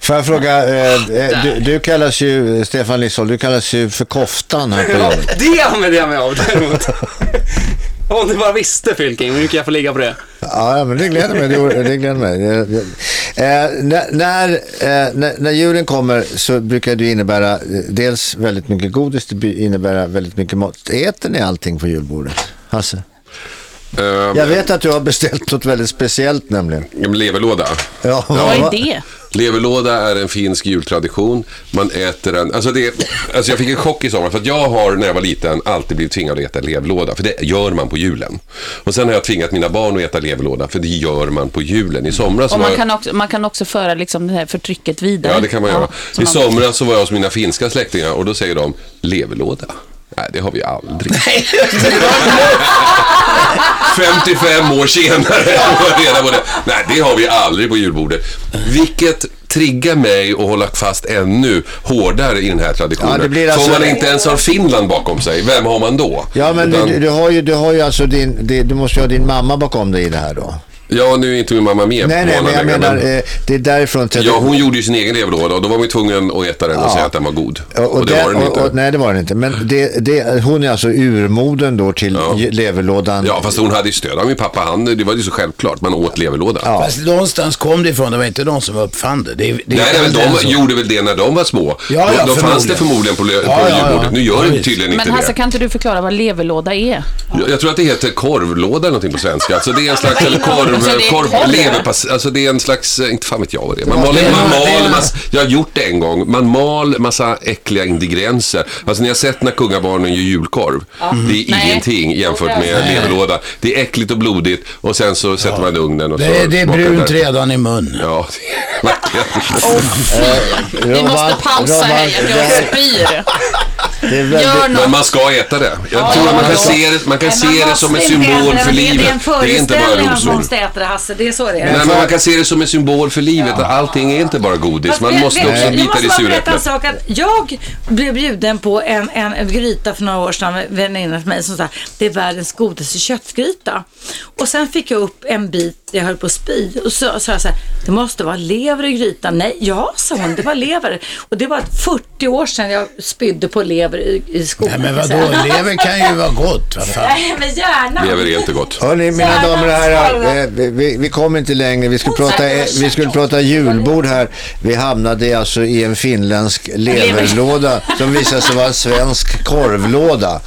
Speaker 2: Får jag fråga, eh, eh, du, du kallas ju, Stefan Lissol, du kallas ju för koftan här på
Speaker 6: Ja,
Speaker 2: jobbet.
Speaker 6: det använder jag mig av däremot. Om du bara visste Fylking, hur mycket jag får ligga på det.
Speaker 2: Ja, ja, men det gläder mig. Det, det gläder mig. Det, det. Eh, när, när, eh, när, när julen kommer så brukar det ju innebära eh, dels väldigt mycket godis, det by- innebär väldigt mycket mat. Äter ni allting på julbordet? Hasse?
Speaker 7: Ehm,
Speaker 2: Jag vet att du har beställt något väldigt speciellt nämligen.
Speaker 7: en Leverlåda.
Speaker 2: Ja,
Speaker 3: Vad är
Speaker 2: va?
Speaker 3: det?
Speaker 7: Leverlåda är en finsk jultradition. Man äter den. Alltså det, alltså jag fick en chock i sommar. För att jag har när jag var liten alltid blivit tvingad att äta leverlåda. För det gör man på julen. Och sen har jag tvingat mina barn att äta leverlåda. För det gör man på julen. I somras
Speaker 3: Och
Speaker 7: var
Speaker 3: man
Speaker 7: jag-
Speaker 3: kan också, man kan också föra liksom det här förtrycket vidare.
Speaker 7: Ja, det kan man göra.
Speaker 3: så
Speaker 7: I
Speaker 3: man-
Speaker 7: somras så var jag hos mina finska släktingar och då säger de leverlåda. Nej, det har
Speaker 2: <laughs>
Speaker 7: vi aldrig. 55 år senare får jag reda på det. Nej, det har vi aldrig på julbordet. Vilket triggar mig att hålla fast ännu hårdare i den här
Speaker 2: Ja, det
Speaker 7: traditionen.
Speaker 2: blir alltså-
Speaker 7: För om man inte ens har Finland bakom sig, vem har man då?
Speaker 2: Ja, men
Speaker 7: Utan-
Speaker 2: du, du, har ju, du har ju alltså din, det- du måste ju ha din mamma bakom dig i det här då.
Speaker 7: Ja, nu är inte min mamma med.
Speaker 2: Nej, nej,
Speaker 7: på
Speaker 2: men jag
Speaker 7: månaden längre,
Speaker 2: menar,
Speaker 7: men-
Speaker 2: eh, det är därifrån till...
Speaker 7: Ja, hon gjorde ju sin egen leverlåda och då var man ju tvungen att äta den och
Speaker 2: Ja.
Speaker 7: säga att den var god.
Speaker 2: Och, och
Speaker 7: det var den
Speaker 2: och,
Speaker 7: inte. Mm.
Speaker 2: och, nej, det var den inte. Men det, det, hon är alltså urmoden då till ju- leverlådan.
Speaker 7: Ja, fast hon hade ju stöd av min pappa. Han, det var ju så självklart. Man åt leverlåda.
Speaker 11: Fast någonstans kom det ifrån. Det var inte de som uppfann det. det, det
Speaker 7: Nej, nej, men
Speaker 11: den
Speaker 7: de
Speaker 11: som-
Speaker 7: gjorde väl det när de var små.
Speaker 11: Ja, ja,
Speaker 7: då då fanns det förmodligen
Speaker 11: förmodligen.
Speaker 7: på, le- på
Speaker 11: Ja, ja, ja.
Speaker 7: julbordet. Nu gör
Speaker 11: Ja,
Speaker 7: det
Speaker 11: visst.
Speaker 7: tydligen
Speaker 3: Men
Speaker 7: inte
Speaker 3: Hasse,
Speaker 7: det.
Speaker 3: kan inte du förklara vad leverlåda är?
Speaker 7: Jag, jag tror att det heter korvlåda eller någonting på svenska. Alltså det är en slags, eller
Speaker 9: Alltså, det är
Speaker 7: korv,
Speaker 9: korv.
Speaker 7: leverpass, alltså det är en slags, eh, inte fan vet jag vad det är. Man
Speaker 13: Ja,
Speaker 7: mal,
Speaker 13: det är-
Speaker 7: man
Speaker 13: det
Speaker 7: mal
Speaker 13: är-
Speaker 7: massa, jag har gjort det en gång, man mal massa äckliga ingredienser. Alltså ni har sett när kungabarnen gör julkorv.
Speaker 13: Ja.
Speaker 7: Det är
Speaker 13: Nej.
Speaker 7: ingenting jämfört med
Speaker 11: Nej.
Speaker 7: leverlåda. Det är äckligt och blodigt och sen så sätter man i ugnen och så
Speaker 11: Det, är- det är
Speaker 7: smakar
Speaker 11: brunt
Speaker 7: det.
Speaker 11: redan i mun.
Speaker 7: Ja, det är verkligen.
Speaker 3: Vi måste pausa här, jag spyr. Gör något.
Speaker 7: Men man ska äta det. Jag
Speaker 9: Ja,
Speaker 7: tror att man
Speaker 9: ja,
Speaker 7: kan
Speaker 9: ja.
Speaker 7: se det, man kan
Speaker 9: Nej,
Speaker 7: se
Speaker 9: man
Speaker 7: det
Speaker 9: måste
Speaker 7: som en
Speaker 9: inte äta
Speaker 7: symbol
Speaker 9: det,
Speaker 7: för
Speaker 9: men det-
Speaker 7: livet.
Speaker 9: Det är en
Speaker 7: Det är inte bara
Speaker 9: föreställning att man
Speaker 7: rosor.
Speaker 9: måste äta det, Hasse. Det är så det är.
Speaker 7: Nej, men man kan se det som en symbol för livet. Allting är inte bara godis.
Speaker 9: Fast
Speaker 7: Man
Speaker 9: vet-
Speaker 7: måste
Speaker 9: vet-
Speaker 7: också
Speaker 9: jag
Speaker 7: bita
Speaker 9: måste
Speaker 7: i
Speaker 9: bara berätta en
Speaker 7: suröpplet.
Speaker 9: sak. Att jag blev bjuden på en, en, en gryta för några år sedan med en väninna till mig som sa det är världens godaste köttgryta. Och sen fick jag upp en bit där jag höll på att spy och så sa jag så här, det måste vara lever i grytan. Nej, ja sa hon, det var lever. Och det var 40 år sedan jag spydde på lever i, i skolan.
Speaker 11: Nej, men vadå, lever kan ju vara gott. Vad fan.
Speaker 9: <laughs> Nej, men gärna.
Speaker 7: Lever är inte gott.
Speaker 2: Hörni, mina damer och herrar, eh, vi- vi, vi kom inte längre. Vi skulle, prata, eh, vi skulle prata julbord här. Vi hamnade alltså i en finländsk leverlåda som visade sig vara en svensk korvlåda. Eh,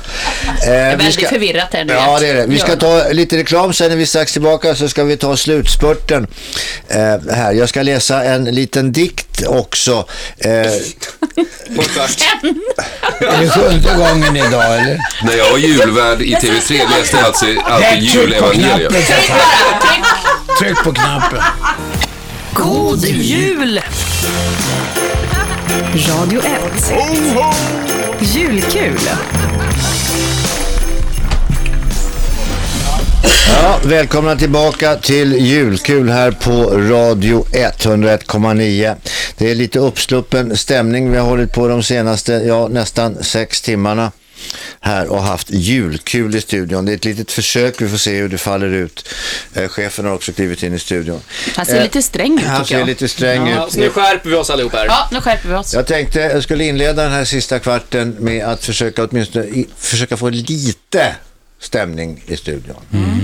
Speaker 13: Det är
Speaker 2: vi
Speaker 13: väldigt
Speaker 2: ska-
Speaker 13: förvirrat här nu.
Speaker 2: Ja, det är det. Vi ska
Speaker 13: Ja.
Speaker 2: ta lite reklam, sen är vi strax tillbaka så ska vi ta slutspurten. Eh, här. Jag ska läsa en liten dikt också. Eh,
Speaker 11: Är det sjunde gången idag eller?
Speaker 7: När jag var julvärd i TV3 läste jag alltså alltid
Speaker 11: Tryck på
Speaker 7: julevangeliet.
Speaker 11: knappen, för fan. Tryck på knappen.
Speaker 13: God jul! Radio 1. Julkul.
Speaker 2: Ja, välkomna tillbaka till julkul här på Radio 101,9. Det är lite uppsluppen stämning. Vi har hållit på de senaste, ja nästan sex timmarna här och haft julkul i studion. Det är ett litet försök, vi får se hur det faller ut. Eh, chefen har också klivit in i studion.
Speaker 3: Han ser
Speaker 2: Eh,
Speaker 3: lite sträng ut,
Speaker 2: Han
Speaker 3: tycker
Speaker 2: ser
Speaker 3: jag.
Speaker 2: lite sträng
Speaker 3: Ja,
Speaker 2: ut.
Speaker 3: så nu
Speaker 6: skärper vi oss allihop här.
Speaker 3: Ja, nu skärper vi oss.
Speaker 2: Jag tänkte jag skulle inleda den här sista kvarten med att försöka åtminstone i, försöka få lite stämning i studion.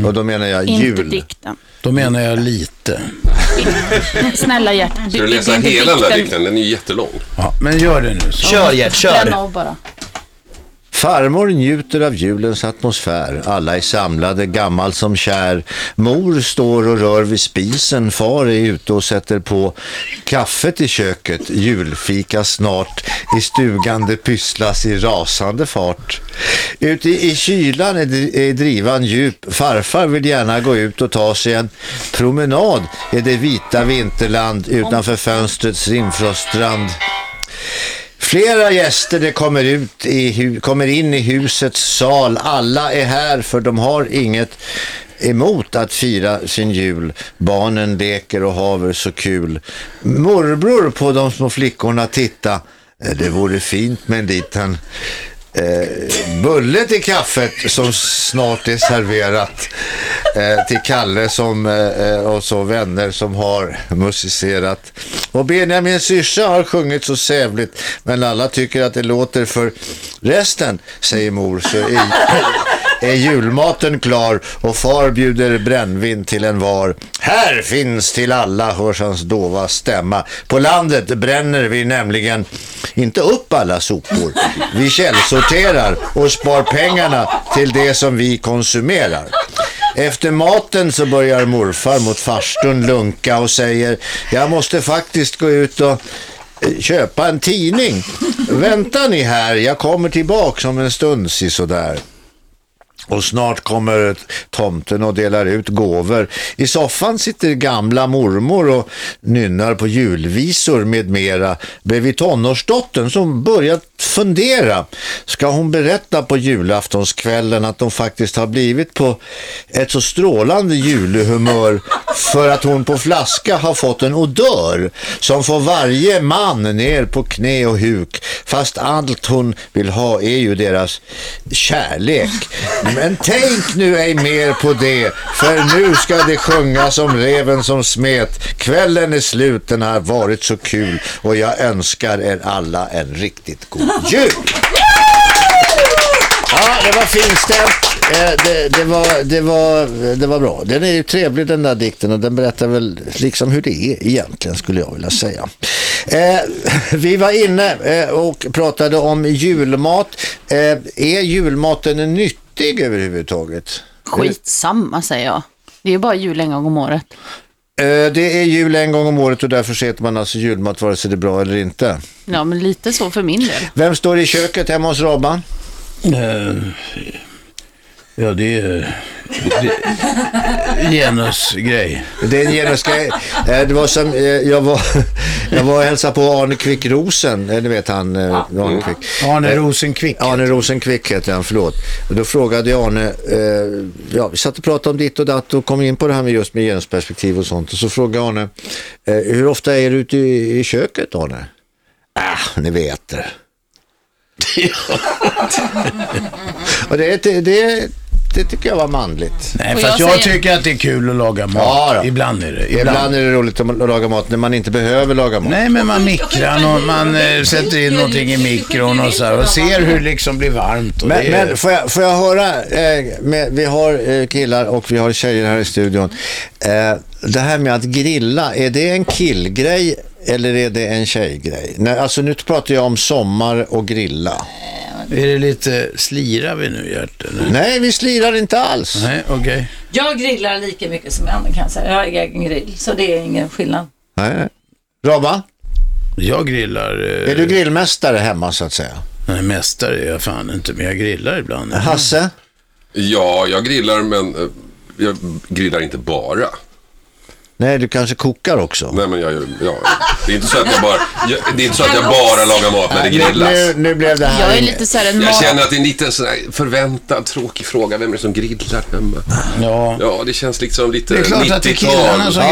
Speaker 2: Och då menar jag
Speaker 3: Mm. Inte
Speaker 2: jul.
Speaker 3: dikten.
Speaker 11: Då menar jag lite.
Speaker 3: Snälla Gert.
Speaker 7: Ska du läsa hela den där dikten? Den är ju jättelång.
Speaker 11: Ja, men gör det nu. så.
Speaker 3: Bränn av bara.
Speaker 2: Farmor njuter av julens atmosfär. Alla är samlade, gammal som kär. Mor står och rör vid spisen. Far är ute och sätter på kaffet i köket. Julfika snart. I stugan det pysslas i rasande fart. Ute i kylan är dri- är drivan djup. Farfar vill gärna gå ut och ta sig en promenad i det vita vinterland utanför fönstrets rimfroststrand. Flera gäster det kommer, ut i, hu- kommer in i husets sal. Alla är här för de har inget emot att fira sin jul. Barnen leker och haver så kul. Morbror på de små flickorna titta. Eh, Det vore fint med en liten eh, bulle till kaffet som snart är serverat. <laughs> Eh, till Kalle som, eh, eh, och så vänner som har musicerat. Och Benjamins syrsa har sjungit så sävligt men alla tycker att det låter för resten, säger mor. Så är, är julmaten klar och far bjuder brännvin till en var. Här finns till alla, hörs hans dova stämma. På landet bränner vi nämligen inte upp alla sopor. Vi källsorterar och spar pengarna till det som vi konsumerar. Efter maten så börjar morfar mot farstun lunka och säger jag måste faktiskt gå ut och eh, köpa en tidning. Vänta ni här, jag kommer tillbaka om en stund sådär. Och snart kommer tomten och delar ut gåvor. I soffan sitter gamla mormor och nynnar på julvisor med mera. Bredvid tonårsdottern som börjat fundera. Ska hon berätta på julaftonskvällen att de faktiskt har blivit på ett så strålande julehumör för att hon på flaska har fått en odör som får varje man ner på knä och huk. Fast allt hon vill ha är ju deras kärlek. Men tänk nu ej mer på det, för nu ska det sjunga som reven som smet. Kvällen är slut, den har varit så kul och jag önskar er alla en riktigt god jul. Ja, det var finstämt. Eh, Det, det, var, det, var, det var bra. Den är ju trevlig den där dikten och den berättar väl liksom hur det är egentligen skulle jag vilja säga. Eh, vi var inne eh, och pratade om julmat. Eh, är julmaten nyttig överhuvudtaget?
Speaker 3: Skitsamma säger jag. Det är ju bara jul en gång om året.
Speaker 2: Eh, Det är jul en gång om året och därför så äter man alltså julmat vare sig det är bra eller inte.
Speaker 3: Ja, men lite så för min del.
Speaker 2: Vem står i köket hemma hos Robban?
Speaker 11: Eh, Ja, det är... Genusgrej.
Speaker 2: Det är en genusgrej. Eh, Det var som, eh, jag var, <laughs> jag var och hälsade på Arne Quick Rosen, eh, ni vet han, eh, Arne Quick. Eh,
Speaker 11: Arne Rosenkvick.
Speaker 2: Arne Rosenkvick heter han, förlåt. Och då frågade jag Arne, eh, ja, vi satt och pratade om ditt och datt och kom in på det här med just med genusperspektiv och sånt. Och så frågade Arne, eh, hur ofta är du ute i, i köket Arne? Ah, ni vet det. <laughs> och det, det, det, det tycker jag var manligt.
Speaker 11: Nej, fast jag, tycker att det är kul att laga mat.
Speaker 2: Ja, då.
Speaker 11: ibland är det.
Speaker 2: Ibland. är det roligt att laga mat när man inte behöver laga mat.
Speaker 11: Nej, men man mikrar och man eh, sätter in någonting i mikron och så här, och ser hur det liksom blir varmt. Och
Speaker 2: Men,
Speaker 11: det är...
Speaker 2: men får, jag, får jag höra, eh, med, vi har eh, killar och vi har tjejer här i studion. Eh, det här med att grilla, är det en killgrej eller är det en tjejgrej? Nej, alltså nu pratar jag om sommar och grilla.
Speaker 11: Är det lite, slirar vi nu Gert? eller?
Speaker 2: Nej, vi slirar inte alls.
Speaker 11: Nej, okej.
Speaker 9: Jag grillar lika mycket som männen kan jag säga. Jag har egen grill, så det är ingen skillnad.
Speaker 2: Nej. Robban?
Speaker 11: Jag grillar... eh,
Speaker 2: Är du grillmästare hemma så att säga? Eh,
Speaker 11: Nej, mästare är jag fan inte, men jag grillar ibland.
Speaker 2: Hasse?
Speaker 7: Ja, jag grillar men eh, jag grillar inte bara.
Speaker 2: Nej, du kanske kokar också?
Speaker 7: Nej, men jag gör, ja. Det är inte så att jag bara, jag, det är inte så att jag bara lagar mat när det
Speaker 2: Nej,
Speaker 7: grillas.
Speaker 2: Nu, nu blev det här
Speaker 3: Jag är
Speaker 2: inget.
Speaker 3: lite så här en
Speaker 7: Jag
Speaker 3: mat-
Speaker 7: känner att det är en liten sån här förväntad tråkig fråga. Vem är det som grillar hemma?
Speaker 11: Ja.
Speaker 7: Ja, det känns liksom lite
Speaker 11: Det är klart att det är killarna som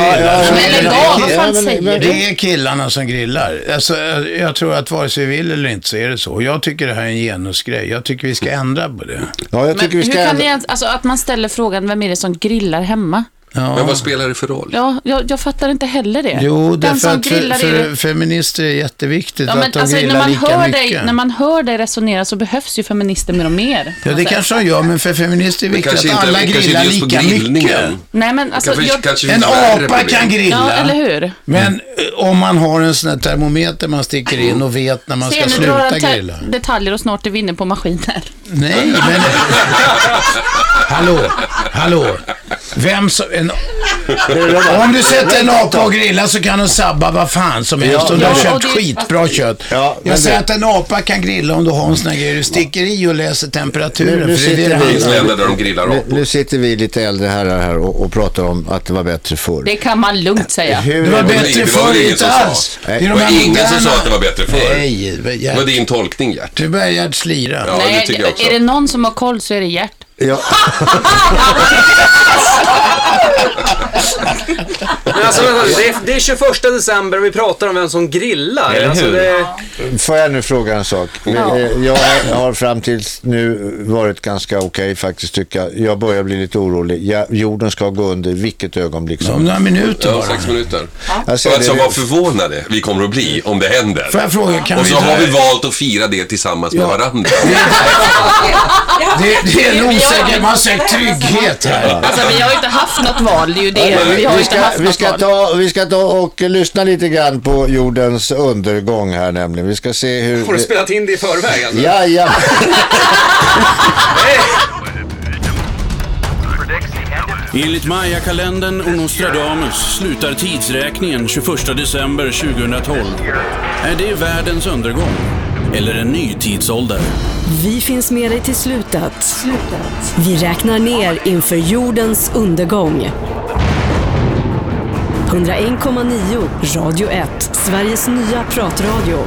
Speaker 11: grillar. Det är killarna som grillar. Alltså, jag- jag tror att vare sig vi vill eller inte så är det så. Och Jag tycker det här är en genusgrej. Jag tycker vi ska ändra på det.
Speaker 2: Mm. Ja, jag
Speaker 3: Men hur kan ni ens, alltså att man ställer frågan, vem är det som grillar hemma?
Speaker 7: Men vad spelar det för roll?
Speaker 3: Ja, jag, jag fattar inte heller det.
Speaker 11: Jo,
Speaker 3: Den
Speaker 11: därför
Speaker 3: som
Speaker 11: att för,
Speaker 3: grillar är
Speaker 11: för
Speaker 3: ju...
Speaker 11: feminister är jätteviktigt
Speaker 3: Ja, men
Speaker 11: att de
Speaker 3: alltså, när,
Speaker 11: grillar
Speaker 3: man
Speaker 11: lika
Speaker 3: hör
Speaker 11: mycket.
Speaker 3: dig, när man hör dig resonera så behövs ju feminister mer och mer. Alltså,
Speaker 11: Ja, det kanske de gör, men för feminister är det
Speaker 7: Men
Speaker 11: viktigt
Speaker 7: Alltså, kanske
Speaker 11: att
Speaker 7: inte-
Speaker 11: alla
Speaker 7: kanske inte
Speaker 11: grillar
Speaker 7: just på
Speaker 11: lika mycket.
Speaker 7: grillningen.
Speaker 3: Nej, men alltså...
Speaker 7: Kanske-
Speaker 3: jag...
Speaker 7: kanske
Speaker 11: En
Speaker 7: finns värre
Speaker 11: apa
Speaker 7: problem.
Speaker 11: kan grilla.
Speaker 3: Ja, eller hur?
Speaker 11: Men eh, om man har en sån här termometer man sticker in och vet när man
Speaker 3: Se,
Speaker 11: ska
Speaker 3: nu drar
Speaker 11: sluta
Speaker 3: han te-
Speaker 11: grilla.
Speaker 3: detaljer och snart är vi inne på maskiner.
Speaker 11: Nej, men... hallå, hallå. Vem som... En... Om du sätter en apa och grillar så kan de sabba vad fan som helst
Speaker 2: Ja,
Speaker 11: om du har
Speaker 2: ja,
Speaker 11: köpt
Speaker 2: och det-
Speaker 11: skitbra kött.
Speaker 2: men
Speaker 11: jag säger
Speaker 2: det-
Speaker 11: att en apa kan grilla om du har en sån här grej du sticker i och läser temperaturen. för det är det det
Speaker 7: finns
Speaker 11: handlar om.
Speaker 7: länder där de grillar
Speaker 2: nu, nu sitter vi lite äldre herrar här och, och pratar om att det var bättre förr.
Speaker 3: Det kan man lugnt säga.
Speaker 2: Hur- Det var bättre
Speaker 7: det var
Speaker 2: förr,
Speaker 7: väl ingen
Speaker 2: inte
Speaker 7: som sa.
Speaker 2: alls.
Speaker 7: Det
Speaker 2: Nej.
Speaker 7: var
Speaker 2: Det var
Speaker 7: ingen som
Speaker 2: moderna-
Speaker 7: sa att det var bättre förr.
Speaker 11: Nej, det var
Speaker 7: det
Speaker 11: Gert.
Speaker 7: var din tolkning, Gert.
Speaker 11: Nu börjar Gert slira.
Speaker 7: Ja, det tycker jag också.
Speaker 3: är det någon som har koll så är det Gert.
Speaker 2: Ja.
Speaker 6: Men alltså, vänta, det, är, det är 21 december och vi pratar om vem som grillar.
Speaker 2: Eller
Speaker 6: Alltså,
Speaker 2: hur?
Speaker 6: det,
Speaker 2: Får jag nu fråga en sak?
Speaker 6: Ja.
Speaker 2: Eh, Jag har fram tills nu varit ganska okej faktiskt tycker jag. Jag börjar bli lite orolig. Ja, jorden ska gå under vilket ögonblick som
Speaker 11: Om några minuter
Speaker 7: Ja,
Speaker 11: bara.
Speaker 7: sex minuter.
Speaker 2: Jag ser
Speaker 7: Och alltså
Speaker 2: det.
Speaker 7: vad förvånade vi kommer att bli om det händer.
Speaker 11: Får jag fråga, kan
Speaker 7: och
Speaker 11: vi
Speaker 7: så
Speaker 11: dra-
Speaker 7: har vi valt att fira det tillsammans med varandra.
Speaker 3: Ah.
Speaker 11: Det, det är en osäker... Man söker trygghet här.
Speaker 3: Alltså vi har ju inte haft något val, det är ju
Speaker 2: Ja,
Speaker 3: det.
Speaker 2: men
Speaker 3: Vi har ju
Speaker 2: vi,
Speaker 3: inte
Speaker 2: ska,
Speaker 3: haft
Speaker 2: vi,
Speaker 3: något
Speaker 2: ska
Speaker 3: val.
Speaker 2: ta, vi ska ta och lyssna lite grann på jordens undergång här nämligen. Vi ska se hur...
Speaker 6: har du spelat in det i förväg alltså?
Speaker 2: Ja, ja.
Speaker 14: Enligt Maya-kalendern och Nostradamus slutar tidsräkningen 21 december 2012. Är det världens undergång? Eller en ny tidsålder?
Speaker 13: Vi finns med dig till slutet. slutet. Vi räknar ner inför jordens undergång. 101,9 Radio 1, Sveriges nya pratradio.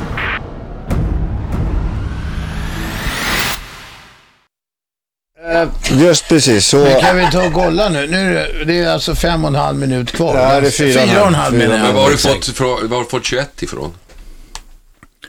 Speaker 2: Eh, Just precis, så...
Speaker 11: Det kan vi ta och kolla nu. nu är det, det är alltså fem och en halv minut kvar.
Speaker 2: Ja, det är fyra och en halv.
Speaker 11: och en halv
Speaker 2: Fyra och en
Speaker 11: minut.
Speaker 7: Men var har du fått, ifrån- var har du fått 21 ifrån?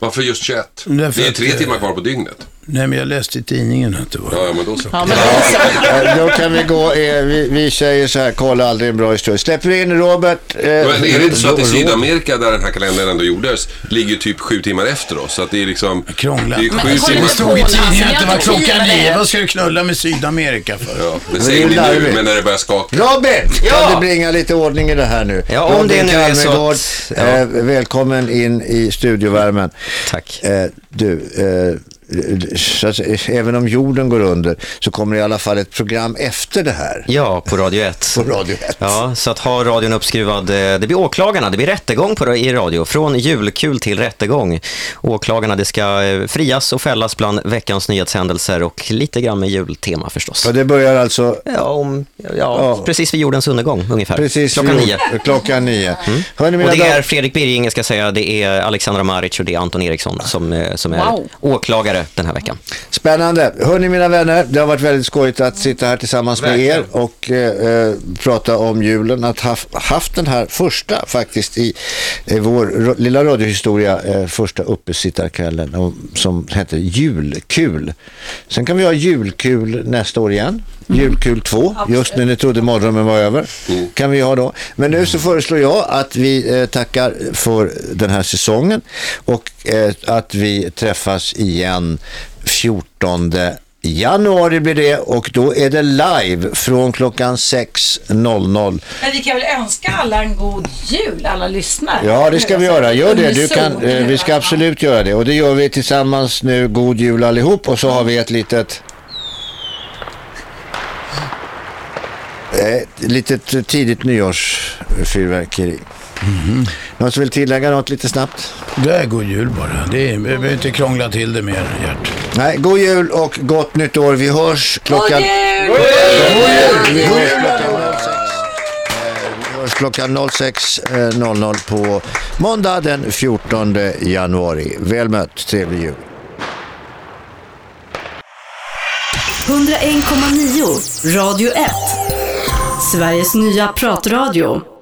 Speaker 7: Varför just 21? Det
Speaker 11: Därför
Speaker 7: är ju
Speaker 11: att,
Speaker 7: tre
Speaker 11: eh,
Speaker 7: timmar kvar på dygnet.
Speaker 11: Nej, men jag läste i tidningen att det var...
Speaker 7: Ja, ja men då så.
Speaker 2: Eh, Då kan vi gå, eh, vi, vi säger så här, kolla aldrig en bra historia. Släpper vi in Robert... eh,
Speaker 7: Men är det inte så att i
Speaker 2: Ro-
Speaker 7: Sydamerika där den här kalendern ändå gjordes ligger ju typ sju timmar efter oss? Så att det är liksom...
Speaker 11: Krånglat.
Speaker 7: Det är sju
Speaker 11: Det
Speaker 7: timmar
Speaker 11: stod i tidningen att det var
Speaker 7: Alltså, jag
Speaker 11: klockan
Speaker 7: tror det.
Speaker 11: nio. Vad ska du knulla med Sydamerika för?
Speaker 7: Ja, det säger
Speaker 2: Men
Speaker 7: ni
Speaker 2: det är
Speaker 7: nu,
Speaker 2: larvigt.
Speaker 7: men när det börjar skaka.
Speaker 2: Robin! Kan du bringa lite ordning i det här nu?
Speaker 15: Ja, om
Speaker 2: Robin
Speaker 15: det nu är så
Speaker 2: Calmegård,
Speaker 15: att-
Speaker 2: eh, välkommen in i studiovärmen. Tack. Eh, du, eh, eh, så att, säga, även om jorden går under så kommer det i alla fall ett program efter det här.
Speaker 15: Ja, på Radio 1. På
Speaker 2: Radio 1.
Speaker 15: Ja, så att ha radion uppskruvad. eh, Det blir åklagarna, det blir rättegång på, i radio. Från julkul till rättegång. Åklagarna, det ska eh, frias och fällas bland veckans nyhetshändelser och lite grann med jultema förstås.
Speaker 2: Och det börjar alltså...
Speaker 15: Ja, om, ja, precis vid jordens undergång ungefär.
Speaker 2: Precis
Speaker 15: Klockan
Speaker 2: vid-
Speaker 15: nio. Mm.
Speaker 2: Klockan nio. Hörrni,
Speaker 15: Och
Speaker 2: mina
Speaker 15: det är
Speaker 2: damer,
Speaker 15: Fredrik Birging, ska jag säga, det är Alexandra Maric och det är Anton Eriksson som, eh, som är
Speaker 2: Wow.
Speaker 15: åklagare den här veckan.
Speaker 2: spännande. Hörrni, mina vänner, det har varit väldigt skojigt att sitta här tillsammans med er och eh, eh, prata om julen. Att ha haft den här första faktiskt i eh, vår ro- lilla radiohistoria, eh, första uppesittarkvällen och, som hette Julkul. Sen kan vi ha julkul nästa år igen. Julkul 2, just när ni trodde morgonen var över. Kan vi ha då. Men nu så föreslår jag att vi eh, tackar för den här säsongen och eh, att vi träffas igen 14 januari blir det och då är det live från klockan 6.00.
Speaker 9: Men vi kan väl önska alla en god jul, alla lyssnare?
Speaker 2: Ja, det ska vi göra. Gör det. Du kan,
Speaker 9: Unison.
Speaker 2: eh, vi ska absolut göra det. Och det gör vi tillsammans nu. God jul allihop. Och så har vi ett litet... Ett litet tidigt nyårsfyrverkeri. Någon som vill tillägga något lite snabbt?
Speaker 11: Mhm. Det är god jul bara. Det är, vi behöver inte krångla till det mer, Gert.
Speaker 2: Nej, god jul och gott nytt år. Vi hörs klockan...
Speaker 11: God
Speaker 2: jul! Vi hörs klockan 06. Eh, Vi hörs klockan 06.00 på måndag den 14 januari. Väl mött. Trevlig jul.
Speaker 13: 101,9 Radio 1. Sveriges nya pratradio.